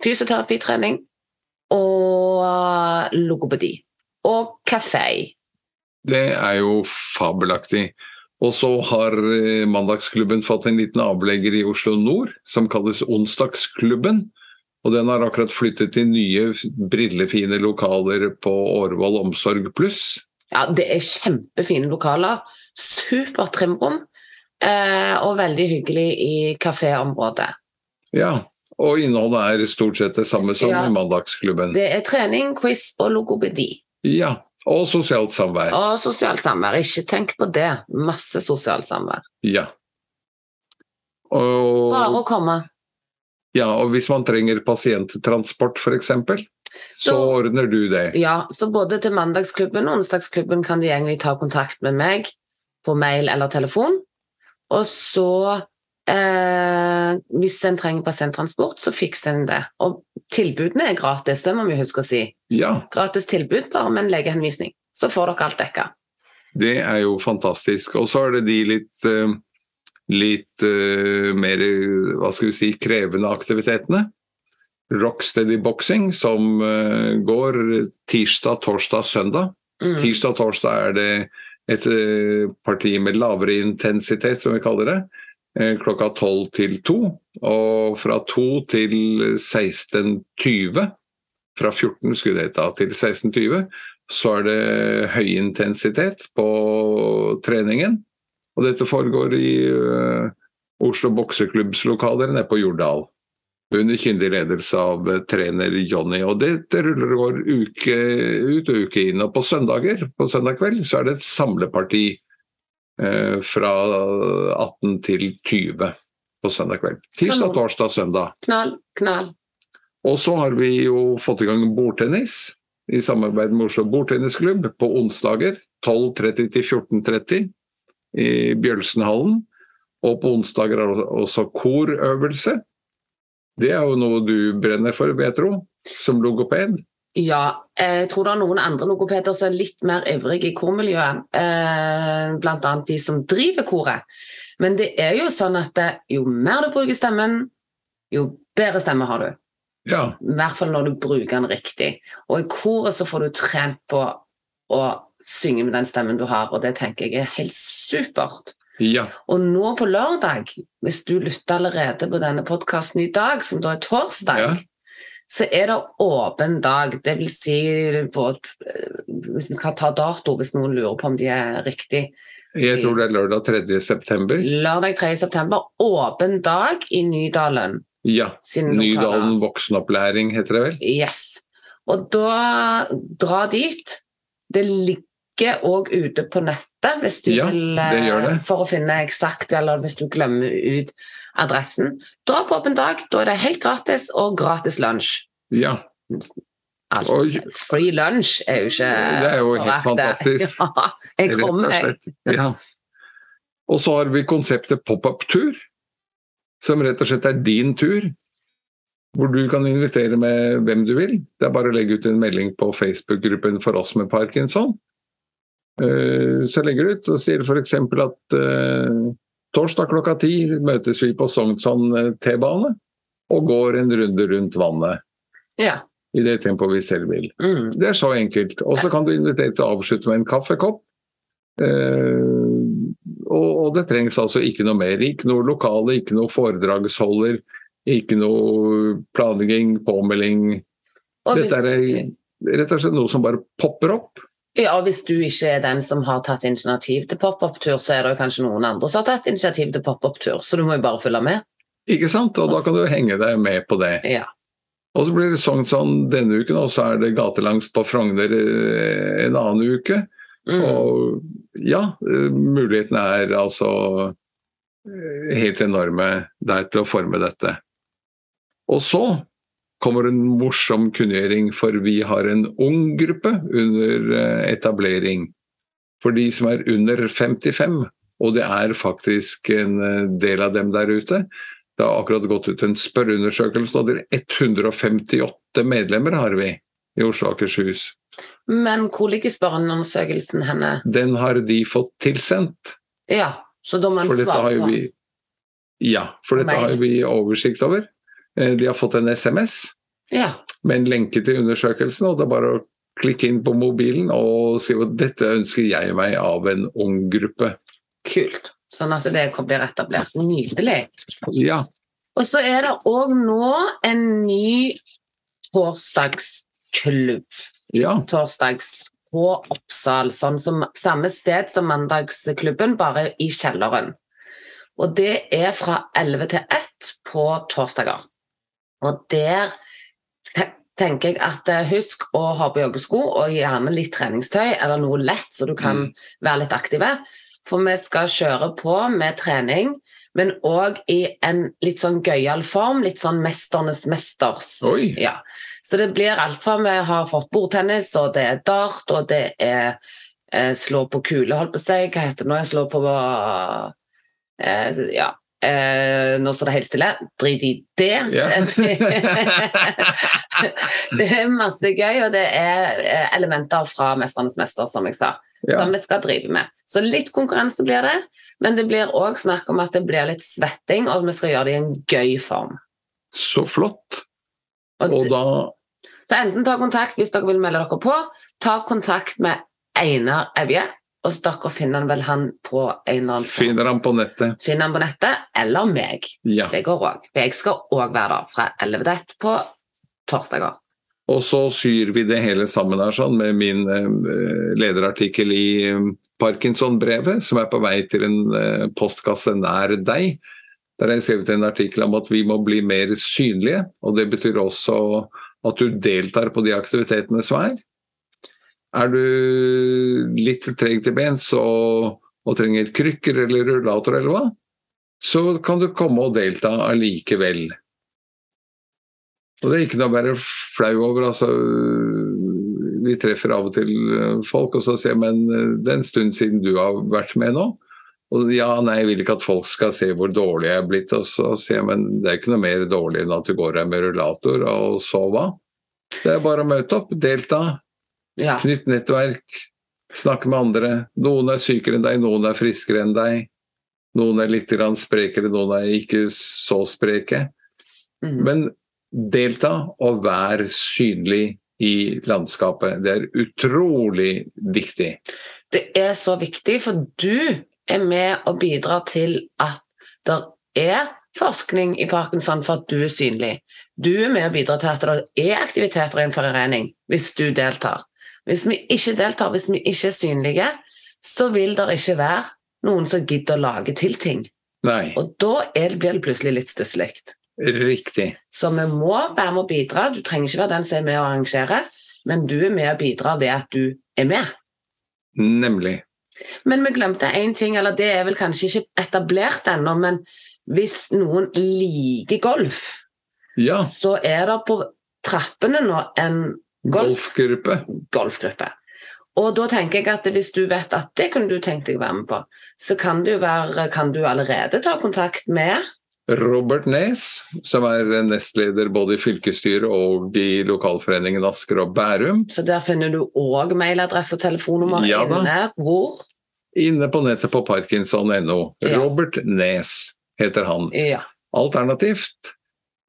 S2: fysioterapitrening og eh, logopedi. Og kafé.
S1: Det er jo fabelaktig. Og så har eh, Mandagsklubben fått en liten avlegger i Oslo Nord, som kalles Onsdagsklubben. Og den har akkurat flyttet til nye, brillefine lokaler på Årvoll Omsorg Pluss.
S2: Ja, det er kjempefine lokaler. Supert trimrom. Eh, og veldig hyggelig i kaféområdet.
S1: Ja, og innholdet er stort sett det samme som
S2: Ja.
S1: i Mandagsklubben.
S2: Det er trening, quiz og logopedi.
S1: Ja, og sosialt samvær.
S2: Og sosialt samvær. Ikke tenk på det. Masse sosialt samvær.
S1: Ja. Og,
S2: Bare å komme.
S1: ja, og hvis man trenger pasienttransport f.eks., så
S2: Da-
S1: ordner du det.
S2: Ja, så både til mandagsklubben og onsdagsklubben kan de egentlig ta kontakt med meg. på mail eller telefon. Og så eh, Hvis en trenger pasienttransport, så fikser en det. Og tilbudene er gratis, det må vi huske å si.
S1: Ja,
S2: Gratis tilbud, bare med en legehenvisning. Så får dere alt dekka.
S1: det er jo fantastisk. Og så er det de litt eh, litt eh, mer hva skal vi si, krevende aktivitetene. Rocksteady boxing som eh, går tirsdag, torsdag, søndag.
S2: Mm.
S1: Tirsdag og torsdag er det et eh, parti med lavere intensitet, som vi kaller det. eh, Klokka 12 til 2, og fra 2 til 16.20. Fra 14 skulle det hete, til 16.20. Så er det høy intensitet på treningen. Og dette foregår i eh, Oslo bokseklubbs lokaler nede på Jordal. Under kyndig ledelse av eh, trener Jonny. Og det, det ruller og går uke ut og uke inn. Og på søndager på søndag kveld så er det et samleparti eh, fra 18 til 20 på søndag kveld. Tirsdag,
S2: Kanon.
S1: torsdag, søndag.
S2: Knall, knall.
S1: Og så har vi jo fått i gang bordtennis i samarbeid med Oslo Bordtennisklubb på onsdager 12.30 til 14.30 i Bjølsenhallen. Og på onsdager er det også korøvelse. Det er jo noe du brenner for, vil jeg tro, som logoped.
S2: Ja, Eh, jeg tror det er noen andre logopeder som er litt mer ivrige i kormiljøet. Eh, blant annet de som driver koret. Men det er jo sånn at eh, jo mer du bruker stemmen, jo bedre stemme har du.
S1: Ja.
S2: I hvert fall når du bruker den riktig. Og i koret så får du trent på å synge med den stemmen du har, og det tenker jeg er helt supert.
S1: ja.
S2: Og nå på lørdag, hvis du lytter allerede på denne podkasten i dag, som da er torsdag,
S1: Ja.
S2: så er det åpen dag. Det vil si både, Hvis vi skal ta dato, hvis noen lurer på om de er riktig.
S1: Jeg tror det er lørdag 3. september.
S2: Lørdag 3. september, åpen dag i Nydalen.
S1: Ja.
S2: sine lokaler.
S1: Nydalen voksenopplæring heter det vel.
S2: Yes. Og da dra dit. Det ligger òg ute på nettet hvis du
S1: Ja,
S2: vil
S1: det gjør
S2: eh,
S1: det.
S2: For å finne eksakt, eller hvis du glemmer ut adressen. Dra på åpen dag. Da er det helt gratis, og gratis lunsj.
S1: Ja.
S2: Altså,
S1: Oi.
S2: free lunch er jo ikke
S1: Det er jo helt
S2: foraktet.
S1: fantastisk.
S2: Ja, jeg
S1: Rett og
S2: kommer, jeg.
S1: slett. Ja. Og så har vi konseptet pop-up-tur, som rett og slett er din tur. Hvor du kan invitere med hvem du vil. Det er bare å legge ut en melding på Facebook-gruppen for oss med parkinson. Eh, Så legger du ut og sier f.eks. at eh, torsdag klokka ti møtes vi på Sognsvann eh, T-bane og går en runde rundt vannet
S2: Ja.
S1: i det tempoet vi selv vil.
S2: Mm.
S1: Det er så enkelt. Og så kan du invitere til å avslutte med en kaffekopp. Eh, og, og det trengs altså ikke noe mer. Ikke noe lokale, ikke noe foredragsholder, ikke noe planlegging, påmelding.
S2: Og
S1: Dette er rett og slett noe som bare popper opp.
S2: Ja, og hvis du ikke er den som har tatt initiativ til pop-up-tur, så er det jo kanskje noen andre som har tatt initiativ til pop-up-tur, så du må jo bare følge med.
S1: Ikke sant? Og da kan du henge deg med på det.
S2: Altså- Ja.
S1: Og så blir det Sognsvann denne uken, og så er det gatelangs på Frogner eh, en annen uke.
S2: Mm.
S1: Og ja, eh, mulighetene er altså eh, helt enorme der til å forme dette. Og så kommer en morsom kunngjøring, for vi har en ung gruppe under eh, etablering. For de som er under 55, og det er faktisk en eh, del av dem der ute. Det har akkurat gått ut en spørreundersøkelse, og det er 158 medlemmer har vi i Oslo og Akershus.
S2: Men hvor ligger spørreundersøkelsen henne?
S1: Den har de fått tilsendt.
S2: Ja, så da må
S1: For
S2: en
S1: dette har
S2: svare
S1: jo
S2: på.
S1: vi Ja, for dette
S2: Mail.
S1: har jo vi oversikt over. Eh, De har fått en SMS
S2: Ja.
S1: med en lenke til undersøkelsen, og det er bare å klikke inn på mobilen og skrive at dette ønsker jeg meg av en ung gruppe.
S2: Kult. Sånn at det blir etablert. Nydelig.
S1: Ja.
S2: Og så er det òg nå en ny torsdagsklubb.
S1: ja.
S2: Torsdags på Oppsal, sånn som, samme sted som mandagsklubben, bare i kjelleren. Og det er fra 11 til 1 på torsdager. Og der te- tenker jeg at eh, husk å ha på joggesko og gjerne litt treningstøy eller noe lett, så du kan være litt aktive. For vi skal kjøre på med trening, men òg i en litt sånn gøyal form. Litt sånn Mesternes mesters.
S1: Oi.
S2: Ja. Så det blir alt fra vi har fått bordtennis, og det er dart, og det er eh, slå på kule, holdt på å si. Hva heter det nå? Jeg slår på eh, Ja. Eh, nå står det helt stille. Drit i det.
S1: Ja.
S2: det er masse gøy, og det er eh, elementer fra 'Mesternes mester', som jeg sa.
S1: Ja.
S2: Som vi skal drive med. Så litt konkurranse blir det, men det blir òg snakk om at det blir litt svetting, og vi skal gjøre det i en gøy form.
S1: Så flott.
S2: Og
S1: Og da
S2: Så enten ta kontakt hvis dere vil melde dere på, ta kontakt med Einar Evje, og så dere finner han vel han på en eller annen form.
S1: finner han på nettet.
S2: Finner han på nettet, eller meg.
S1: Ja.
S2: Det går òg. Jeg skal òg være der fra 11 til 1 på torsdager.
S1: Og så syr vi det hele sammen her sånn med min eh, lederartikkel i eh, Parkinson-brevet, som er på vei til en eh, postkasse nær deg. Der har jeg skrevet en artikkel om at vi må bli mer synlige. Og det betyr også at du deltar på de aktivitetene som er. Er du litt treg til bens og, og trenger krykker eller rullator eller hva, så kan du komme og delta allikevel. Og det er ikke noe å være flau over. altså øh, Vi treffer av og til øh, folk, og så sier jeg men øh, det er en stund siden du har vært med nå. Og ja, nei, jeg vil ikke at folk skal se hvor dårlig jeg er blitt. Og så sier jeg men det er ikke noe mer dårlig enn at du går her med rullator, og så hva? Det er bare å møte opp, delta,
S2: Ja.
S1: knytte nettverk, snakke med andre. Noen er sykere enn deg, noen er friskere enn deg. Noen er litt grann sprekere, noen er ikke så spreke.
S2: Mm.
S1: Men delta og vær synlig i landskapet. Det er utrolig viktig.
S2: Det er så viktig, for du er med og bidrar til at det er forskning i Parkinson for at du er synlig. Du er med og bidrar til at det er aktiviteter i en forening hvis du deltar. Hvis vi ikke deltar, hvis vi ikke er synlige, så vil det ikke være noen som gidder å lage til ting.
S1: Nei,
S2: Og da er det, blir det plutselig litt stusslig.
S1: riktig.
S2: Så vi må være med og bidra. Du trenger ikke være den som er med og arrangerer, men du er med og bidrar ved at du er med.
S1: Nemlig.
S2: Men vi glemte én ting, eller det er vel kanskje ikke etablert ennå, men hvis noen liker golf,
S1: Ja,
S2: så er det på trappene nå en golf
S1: golfgruppe.
S2: golfgruppe. Og da tenker jeg at hvis du vet at det kunne du tenkt deg å være med på, så kan, det jo være, kan du allerede ta kontakt med
S1: Robert Nes, som er nestleder både i fylkesstyret og i lokalforeningen Asker og Bærum.
S2: Så der finner du òg mailadresse og telefonnummer
S1: Ja da.
S2: inne. Hvor?
S1: Inne på nettet på parkinson.no.
S2: Ja.
S1: Robert Nes heter han.
S2: Ja.
S1: Alternativt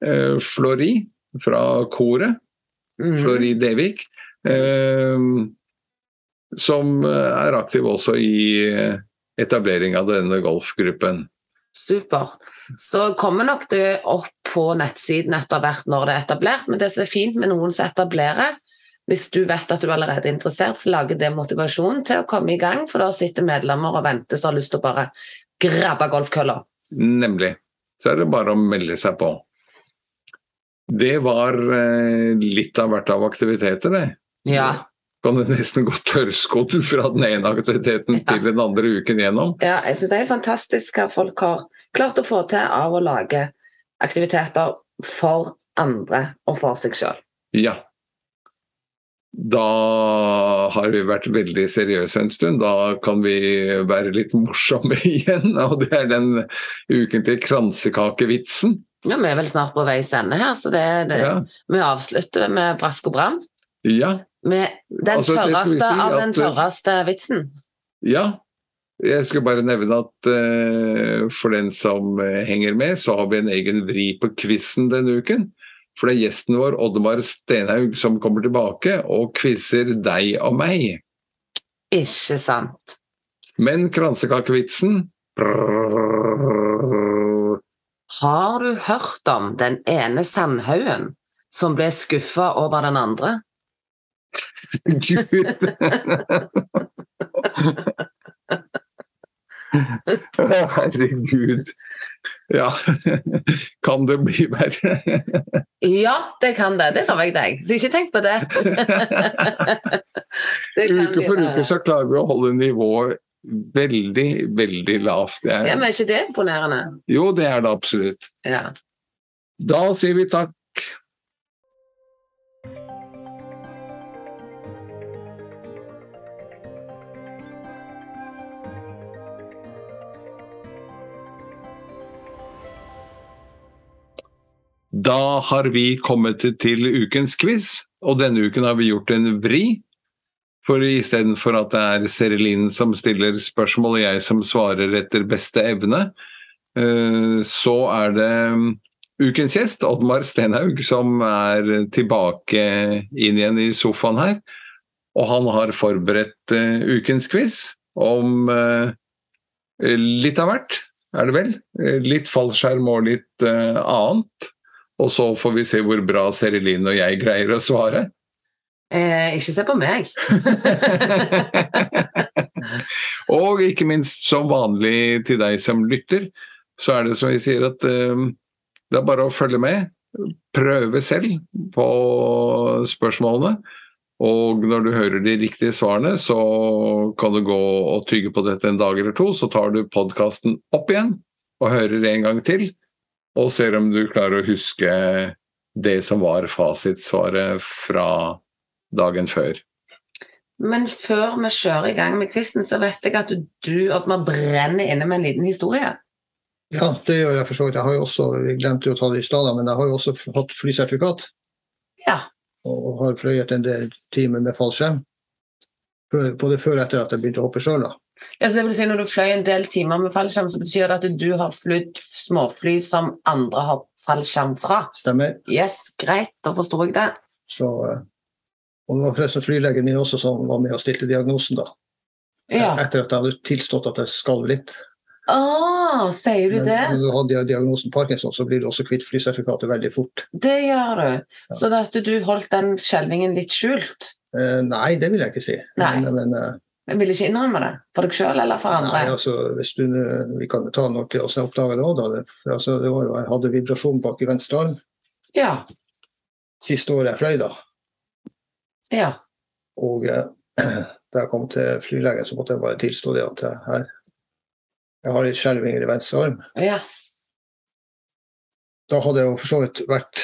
S1: eh, Flori fra koret.
S2: Mm.
S1: Florid Devik, eh, som eh, er aktiv også i eh, etablering av denne golfgruppen.
S2: Supert. Så kommer nok det opp på nettsiden etter hvert når det er etablert, men det som er fint med noen som etablerer, hvis du vet at du allerede er interessert, så lager det motivasjon til å komme i gang, for da sitter medlemmer og venter som har lyst til å bare grabbe golfkølla.
S1: Nemlig. Så er det bare å melde seg på. Det var eh, litt av hvert av aktiviteter, det.
S2: Ja.
S1: Kan du nesten gå tørrskodd fra den ene aktiviteten
S2: Ja.
S1: til den andre uken igjennom.
S2: ja, jeg synes det er fantastisk hva folk har klart å få til av å lage aktiviteter for andre og for seg sjøl.
S1: Ja. Da har vi vært veldig seriøse en stund. Da kan vi være litt morsomme igjen. Og det er den ukentlige kransekakevitsen.
S2: Ja, vi er vel snart på veis ende her, så det, det,
S1: Ja.
S2: vi avslutter med brask og bram.
S1: ja.
S2: Med den
S1: Altså, det skal vi
S2: tørreste
S1: si
S2: av
S1: at-
S2: den tørreste vitsen.
S1: Ja. Jeg skulle bare nevne at eh, for den som eh, henger med, så har vi en egen vri på quizen denne uken. For det er gjesten vår, Oddmar Stenhaug, som kommer tilbake og quizer deg og meg.
S2: Ikke sant.
S1: Men kransekakevitsen
S2: Har du hørt om den ene sandhaugen som ble skuffa over den andre?
S1: Gud. Herregud. Ja, kan det bli verre?
S2: Ja, det kan det. Det lover jeg deg. Så ikke tenk på det. Det kan
S1: Uke
S2: vi
S1: for
S2: gjøre.
S1: uke så klarer vi å holde nivået veldig, veldig lavt. Det
S2: Ja,
S1: er-
S2: men er ikke det imponerende?
S1: Jo, det er det absolutt.
S2: Ja.
S1: Da sier vi takk. Da har vi kommet til ukens quiz, og denne uken har vi gjort en vri. For istedenfor at det er Serelin som stiller spørsmål og jeg som svarer etter beste evne, eh, så er det mm, ukens gjest, Oddmar Stenhaug, som er tilbake inn igjen i sofaen her. Og han har forberedt eh, ukens quiz om eh, litt av hvert, er det vel? Eh, Litt fallskjerm og litt eh, annet. Og så får vi se hvor bra Serelin og jeg greier å svare.
S2: Eh, ikke se på meg.
S1: og ikke minst, som vanlig til deg som lytter, så er det som vi sier at eh, det er bare å følge med. Prøve selv på spørsmålene. Og når du hører de riktige svarene, så kan du gå og tygge på dette en dag eller to. Så tar du podkasten opp igjen og hører en gang til. Og ser om du klarer å huske det som var fasitsvaret fra dagen før.
S2: Men før vi kjører i gang med quizen, så vet jeg at du at man brenner inne med en liten historie.
S3: Ja, det gjør jeg for så vidt. Jeg har jo også, vi glemte jo å ta det i stad, da, men jeg har jo også hatt flysertifikat.
S2: Ja.
S3: og har fløyet en del timer med fallskjerm. Før- Både før og etter at jeg begynte å hoppe sjøl.
S2: Ja, så det vil si Når du fløy en del timer med fallskjerm, så betyr det at du har flydd småfly som andre har fallskjerm fra.
S3: Stemmer.
S2: Yes, greit, da forsto jeg det.
S3: Så, eh, og det var forresten flylegen min også som var med og stilte diagnosen, da. E-,
S2: Ja.
S3: Etter at jeg hadde tilstått at jeg skalv litt.
S2: Ah, sier du
S3: Men
S2: det?
S3: når du har dia- diagnosen Parkinson, så blir du også kvitt flysertifikatet veldig fort.
S2: Det gjør du. Så det at du holdt den skjelvingen litt skjult.
S3: Eh, nei, det vil jeg ikke si.
S2: Nei.
S3: Men, men, eh,
S2: Jeg ville ikke innrømme det. For deg sjøl eller for
S3: nei,
S2: andre?
S3: altså, hvis du, vi kan jo ta når til oss jeg oppdaga det òg, da. Det, altså, det var jo, jeg hadde vibrasjon bak i venstre arm
S2: Ja.
S3: siste året jeg fløy, da.
S2: Ja.
S3: Og eh, da jeg kom til flylegen, så måtte jeg bare tilstå det at jeg, her, jeg har litt skjelvinger i venstre arm.
S2: ja.
S3: Da hadde jeg jo for så vidt vært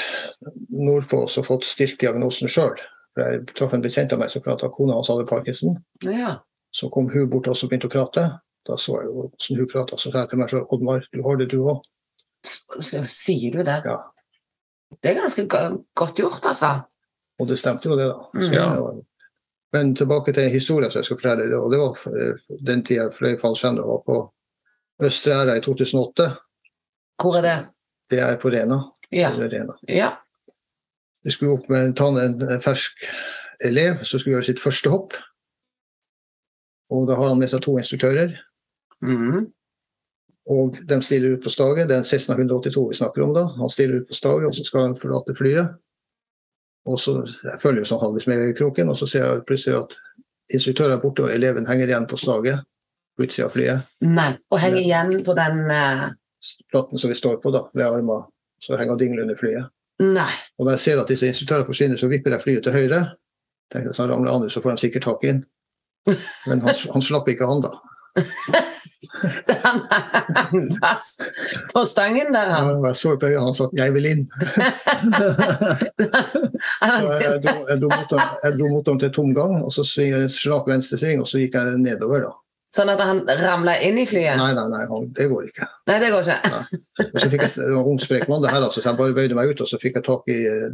S3: nordpå og fått stilt diagnosen sjøl. Jeg traff en bekjent av meg som prata, kona hans hadde parkinson.
S2: ja.
S3: Så kom hun bort og så begynte å prate. Da så jeg jo hvordan hun prata, så sa jeg til meg sjøl Oddmar, du har det du òg.
S2: Så Sier du det?
S3: Ja.
S2: Det er ganske go- godt gjort, altså.
S3: Og det stemte jo det, da. Så
S2: Mm.
S1: Ja.
S3: det var- Eh, Men tilbake til historien som jeg skal fortelle. det, og Det var eh, den tida jeg fløy fallskjerm. Det var på Østre Æra i 2008.
S2: Hvor er det?
S3: Det er på Rena.
S2: Ja.
S3: eller Rena.
S2: ja.
S3: Vi skulle opp med en, ta en en fersk elev som skulle gjøre sitt første hopp. Og da har han med seg to instruktører,
S2: Mhm.
S3: og de stiller ut på staget. Det er en Cessna 182 vi snakker om da. Han stiller ut på staget, og så skal han forlate flyet. Og så jeg følger jo sånn halvvis med i kroken, og så ser jeg plutselig at instruktøren er borte, og eleven henger igjen på staget på utsida av flyet.
S2: Nei. Og heng
S3: Ja.
S2: igjen på den eh,
S3: Platten som vi står på, da, ved armene, så henger han dingle under flyet.
S2: Nei.
S3: Og når jeg ser at disse instruktørene forsvinner, så vipper jeg flyet til høyre. Tenker jeg, så ramler han ut, så får de sikkert tak i den. Men han, han slapp ikke han, da.
S2: Så han hang fast på stangen der, han.
S3: Og jeg så på øynene hans at 'jeg vil inn'. Så eh, jeg dro, jeg dro mot ham- jeg dro mot ham til tomgang, og så sving jeg en slak venstresving, og så gikk jeg nedover, da.
S2: Sånn at han ramla inn i flyet?
S3: Nei, nei, nei, han, det går ikke.
S2: Nei, det går ikke.
S3: Og så fikk jeg, Det var en ung, sprek mann, det her, altså, så jeg bare bøyde meg ut, og så fikk jeg tak i eh,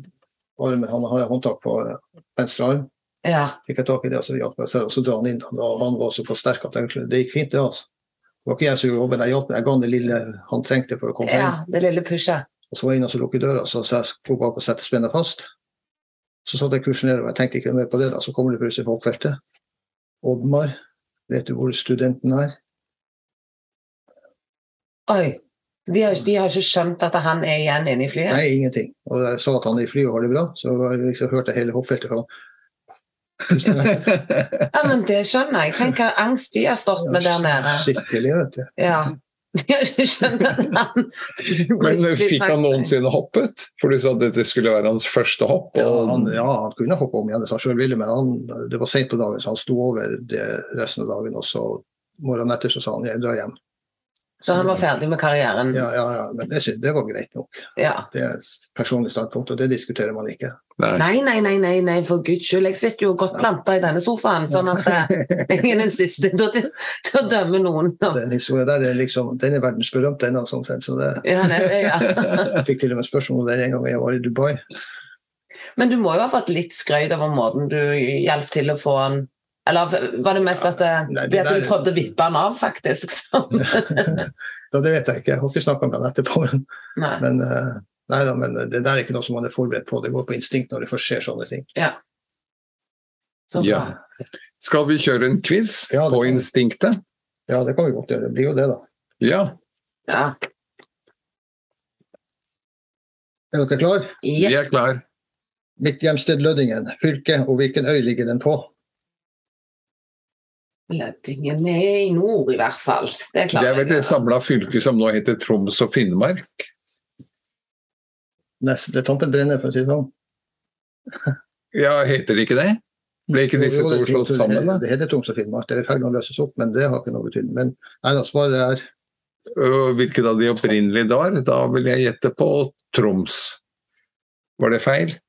S3: armen. Han har håndtak på eh, venstre arm.
S2: Ja.
S3: fikk jeg tak i det, og så hjalp jeg til, og så dra han inn. da. Da han var såpass sterk at jeg, det gikk fint, det. altså. Det var ikke jeg som gjorde jobben, jeg hjalp, jeg ga han det lille han trengte for å komme
S2: ja.
S3: hjem.
S2: Det lille pushet.
S3: Og så var jeg inne og så lukket døra, så sa jeg gå bak og sette spennet fast. Så satte jeg kursen nedover, jeg tenkte ikke mer på det, da. Så kommer det plutselig fra hoppfeltet. Oddmar, vet du hvor studenten er?
S2: Oi. De har, de har ikke skjønt at han er igjen inne i flyet?
S3: Nei, ingenting. Og jeg sa at han i flyet har det bra, så var det liksom, hørte jeg hele hoppfeltet. og-
S2: Ja, men Det skjønner jeg. Tenk hva angst de har stått med der nede.
S3: Skikkelig, vet du.
S2: Ja. De har ikke skjønt at han
S1: Men fikk han noensinne hoppet? For du sa at dette skulle være hans første hopp.
S3: Ja,
S1: Og
S3: han, ja, han kunne hoppe om igjen hvis han sjøl ville, men han, det var seint på dagen, så han sto over det resten av dagen. Og så morgenen etter så sa han jeg drar hjem.
S2: Så han var ferdig med karrieren.
S3: Ja, ja, ja, men det, sy- det var greit nok.
S2: Ja.
S3: Det er et personlig standpunkt, og det diskuterer man ikke.
S1: Nei.
S2: Nei, nei, nei, nei, nei, for guds skyld. Jeg sitter jo godt planta i denne sofaen, sånn at eh, jeg er den siste til å til å dømme noen. som-
S3: Den historien der er liksom, den er verdensberømt, den. Altså, omtrent, så det,
S2: Ja, nei, ja.
S3: jeg fikk til og med spørsmål om den en gang jeg var i Dubai.
S2: Men du må jo ha fått litt skrøyt over måten du hjalp til å få han Eller var det mest at, eh, det,
S3: Nei, det
S2: det at du
S3: der-
S2: prøvde å vippe han av, faktisk? Så.
S3: Da, det vet jeg ikke, jeg har ikke snakka med han etterpå. Men,
S2: Nei.
S3: men, eh, nei, da, men det der er ikke noe som man er forberedt på. Det går på instinkt når det først skjer sånne ting.
S2: Så
S1: Ja.
S2: bra.
S1: Skal vi kjøre en quiz
S3: Ja, det
S1: på
S3: kan vi.
S1: instinktet?
S3: Ja, det kan vi godt gjøre. Det blir jo det, da.
S1: Ja.
S2: Ja.
S3: Er dere klar?
S1: Vi er
S2: Yes.
S1: klar.
S3: Mitt hjemsted Lødingen, fylke, og hvilken øy ligger den på?
S2: Lødingen Vi er i nord, i hvert fall. Det er
S1: Det
S2: klart.
S1: er vel det samla fylket som nå heter Troms og Finnmark?
S3: Nest, det er Tante Brenner, for å si det sånn.
S1: Ja, heter det ikke det? Ble ikke disse
S3: Jo, jo,
S1: to
S3: det-
S1: slått sammen? da?
S3: Det heter Troms og Finnmark. Det er i ferd med å løses opp, men det har ikke noe betydning. Men nei da, svaret er
S1: Og Hvilket av de opprinnelig da? Da vil jeg gjette på Troms. Var det feil?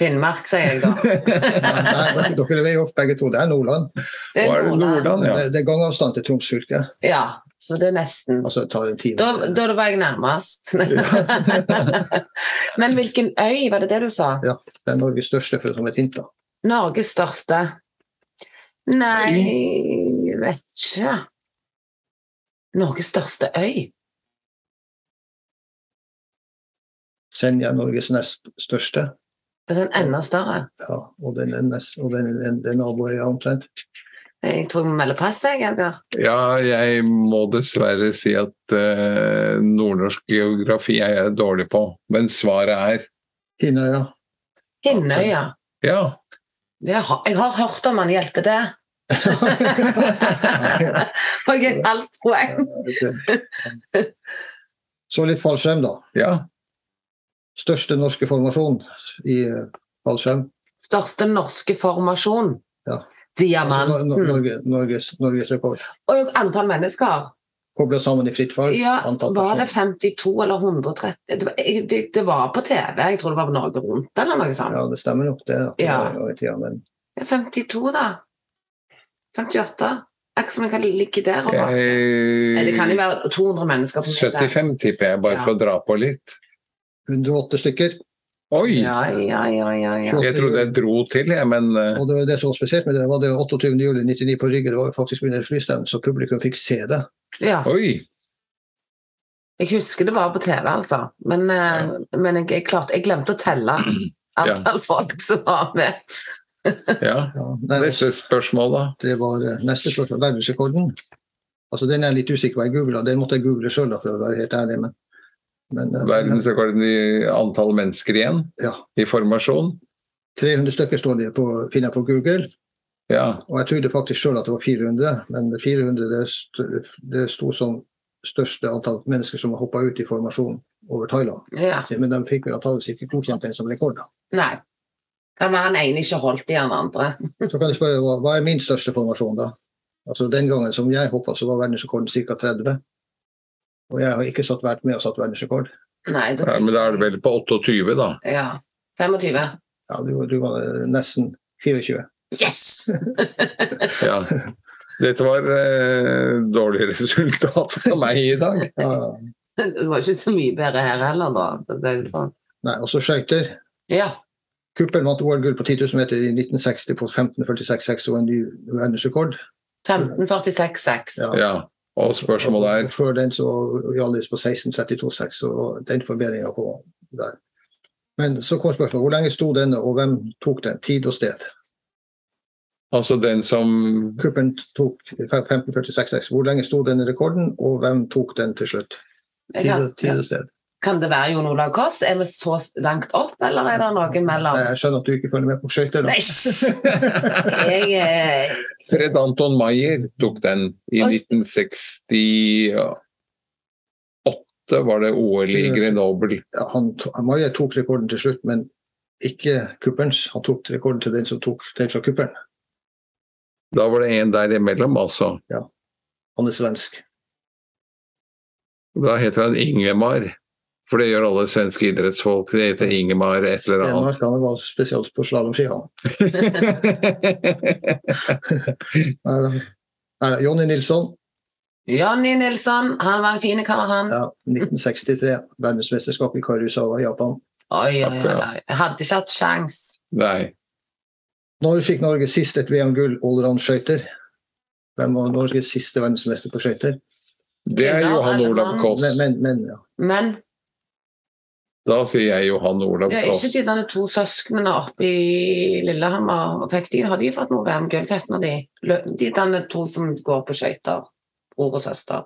S2: Finnmark, sier jeg da.
S3: Nei, nei dere- dere er vei off begge to. Det er Nordland.
S2: Det
S1: Var det Nordland, ja.
S3: Det- Det er gangavstand til Troms fylke.
S2: Ja, så det er nesten.
S3: Altså det tar en time.
S2: Da, da var jeg nærmest. Men hvilken øy, var det det du sa?
S3: Det er Norges største, for som et hint. da.
S2: Norges største? Nei, jeg vet ikke. Norges største øy?
S3: Senja er Norges nest største.
S2: Altså en enda større?
S3: Ja, og den er, nest, og den er, den er naboøya omtrent.
S2: Jeg tror jeg må melde pass, jeg, Edgar.
S1: Ja, jeg må dessverre si at eh, nordnorsk geografi er jeg dårlig på. Men svaret er
S3: Hinnøya.
S2: Hinnøya.
S1: ja.
S2: Det har, jeg har hørt om han hjelper det. Og jeg er halvt poeng.
S3: Så litt fallskjerm, da.
S1: ja.
S3: Største norske formasjon i eh, fallskjerm.
S2: Største norske formasjon.
S3: Ja. Altså,
S2: Diamanten.
S3: Nor- Nor- Norge, Norges, Norges rekord.
S2: Mm. Og antall mennesker.
S3: Kobla sammen i fritt fall.
S2: Ja,
S3: antall
S2: var det
S3: personer.
S2: 52 eller 130? Det var, jeg- det, det var på TV. Jeg tror det var Norge Rundt eller noe sånt.
S3: Ja, det stemmer nok, det. at det
S2: Ja.
S3: var en gang i tida, men
S2: Ja. 52, da. 58. Akkurat som jeg kan ligge der. og bare- Nei, Det kan
S1: Jeg,
S2: jo være 200 mennesker. for min del.
S1: 75 tipper jeg, bare
S2: Ja.
S1: for å dra på litt.
S3: 108 stykker.
S1: Oi!
S2: Ja, ja, ja, ja, ja.
S1: Jeg trodde jeg dro til, jeg, men eh,
S3: Og det, var det som var spesielt med det, var det 28. juli 99 på Rygge. Det var jo faktisk under flystevnen, så publikum fikk se det.
S2: ja.
S1: oi!
S2: Jeg husker det var på TV, altså. Men, eh, men jeg, jeg, klarte, jeg glemte å telle antall folk som var med.
S1: Ja.
S3: Ja, nei,
S1: Neste spørsmål, da.
S3: det var eh, neste spørsmål. Verdensrekorden. Altså, den er jeg litt usikker på. Jeg googlet. Den måtte jeg google sjøl, for å være helt ærlig. Men, men eh,
S1: Verdensrekorden i antall mennesker igjen
S3: ja,
S1: i formasjon.
S3: 300 stykker står det på, finner jeg på Google.
S1: Ja.
S3: Og jeg trodde faktisk sjøl at det var 400, men 400 det, st det sto som største antall mennesker som har hoppa ut i formasjon over Thailand.
S2: Ja.
S3: Men de fikk vel antakeligvis ikke godkjent den som rekord. da.
S2: Nei. Kan være den ene ikke holdt i den andre.
S3: Så kan jeg spørre, hva, hva er min største formasjon, da? Altså Den gangen som jeg hoppa, så var verdensrekorden ca. 30. Og jeg har ikke satt, vært med og satt verdensrekord.
S2: Nei, da
S1: ja, Men da er det vel på 28, da.
S2: Ja. 25.
S3: Ja, du, du var nesten 24.
S2: Yes!
S1: Ja. Dette var eh, dårlig resultat for meg i dag.
S3: Ja.
S2: Det var ikke så mye bedre her heller, da. Det er sånn.
S3: Nei, og så skøyter.
S2: Ja.
S3: Kuppel vant OL-gull på 10 000 meter i 1960 på 15.46,6 og en ny verdensrekord.
S2: 1546-6.
S3: Ja.
S1: Ja. Og
S3: Og
S1: spørsmålet er
S3: Før den så Hjallis på 16.32,6, så den forbedringa på der. Men så kom spørsmålet hvor lenge sto denne, og hvem tok den? Tid og sted.
S1: altså den som
S3: Kuppen tok 15.46,6. Hvor lenge sto denne rekorden, og hvem tok den til slutt?
S2: Jeg
S3: Tid,
S2: Kan,
S3: og- tid og sted.
S2: kan det være Jon Olav Koss? Er vi så langt opp, eller er det noe mellom?
S3: Jeg skjønner at du ikke følger med på skøyter. da.
S2: Nei! Jeg eh, er
S1: Fred Anton Maier tok den i
S2: Oi.
S1: 1968, var det OL i Grenoble.
S3: Ja, Han, to- Maier tok rekorden til slutt, men ikke Kupperens. Han tok rekorden til den som tok den fra Kupperen.
S1: Da var det en der imellom, altså.
S3: Han er svensk.
S1: Da heter han Ingemar. For det gjør alle svenske idrettsfolk. Det heter Ingemar et eller annet.
S3: Stenmark han var spesielt på slalåmski, han. Nei, nei, Eh, Jonny Nilsson,
S2: Jonny Nilsson, han var en fin kar, han.
S3: ja, 1963. Verdensmesterskap i Karusawa i Japan.
S2: Oi, oi, oi,
S1: Akkurat.
S2: oi. Jeg hadde ikke hatt sjans.
S1: Nei.
S3: Når fikk Norge sist et VM-gull allround-skøyter? Hvem var Norges siste verdensmester på skøyter?
S1: Det er Johan Olav Koss.
S3: Men, men, men ja.
S2: Men
S1: Da sier jeg Johan Olav
S2: det er
S1: Koss.
S2: ikke de der to søsknene oppe i Lillehammer og fikk de, Har de fått noe VM-gull? Hva heter nå de? Lø- De derne to som går på skøyter. Bror og søster.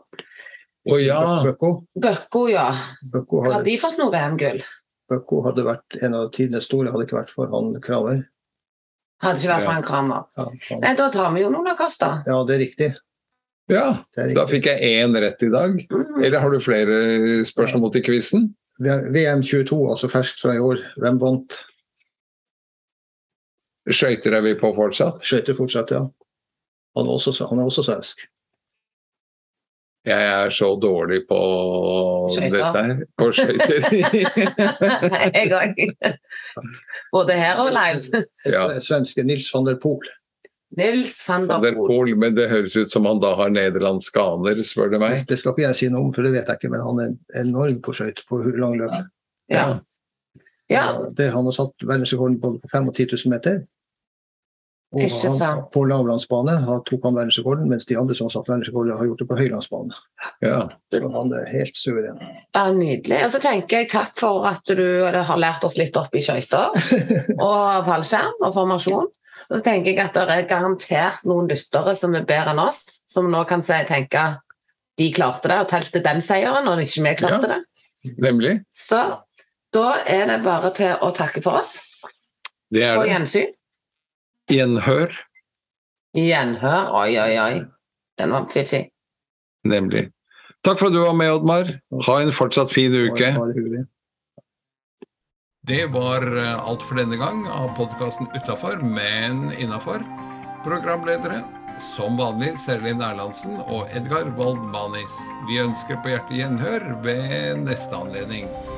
S1: Å ja!
S3: Bøkko,
S2: Bøkko, ja.
S3: Bøkko,
S2: Har
S3: hadde,
S2: de fått noe VM-gull?
S3: Bøkko hadde vært en av tidenes store, hadde ikke vært for han Kramer.
S2: Hadde ikke vært
S1: Ja.
S2: for en Kramer.
S3: Ja, han,
S2: Nei, da tar vi Jon Olav Koss, da.
S3: ja det er riktig.
S1: ja.
S3: Det er
S1: Da
S3: riktig.
S1: fikk jeg én rett i dag.
S2: Mm.
S1: Eller har du flere spørsmål til quizen?
S3: VM 22, altså ferskt fra i år. Hvem vant?
S1: Skøyter er vi på fortsatt?
S3: Skøyter fortsatte, ja. Han er også, han er også svensk.
S1: Jeg er så dårlig på
S2: Skøyter.
S1: dette her. På skøyter.
S2: Jeg òg. Både her og live.
S1: Ja.
S3: Svenske Nils van der Poel.
S2: Nils van
S1: Van
S2: der
S1: der
S2: Poel.
S1: Poel, men det høres ut som han da har nederlandske aner, spør du meg.
S3: Det skal ikke jeg si noe om, for det vet jeg ikke, men han er enorm på skøyter på langløp.
S2: Ja. ja.
S3: Det, han har satt verdensrekorden både på 5 og 10 000 meter. Og
S2: Ikke
S3: han,
S2: sant.
S3: på lavlandsbane har- tok han verdensrekorden, mens de andre som har satt verdensrekorden, har gjort det på høylandsbane.
S1: Ja.
S3: Så han er helt suveren.
S2: ja, nydelig. Og så tenker jeg takk for at du eller, har lært oss litt opp i skøyter og fallskjerm og formasjon. Og så tenker jeg at det er garantert noen lyttere som er bedre enn oss, som nå kan si, tenke de klarte det og telte den seieren, og ikke vi klarte det.
S1: Nemlig.
S2: Så da er det bare til å takke for oss.
S1: Det er
S2: På
S1: det.
S2: gjensyn.
S1: Gjenhør.
S2: Gjenhør. Oi, oi, oi. Den var fiffig.
S1: Nemlig. Takk for at du var med, Oddmar. Ha en fortsatt fin uke.
S3: Bare hyggelig.
S4: Det var eh, alt for denne gang av podkasten Utafor, men innafor. Programledere som vanlig Serlin Erlandsen og Edgar Wald Manis. Vi ønsker på hjertet gjenhør ved neste anledning.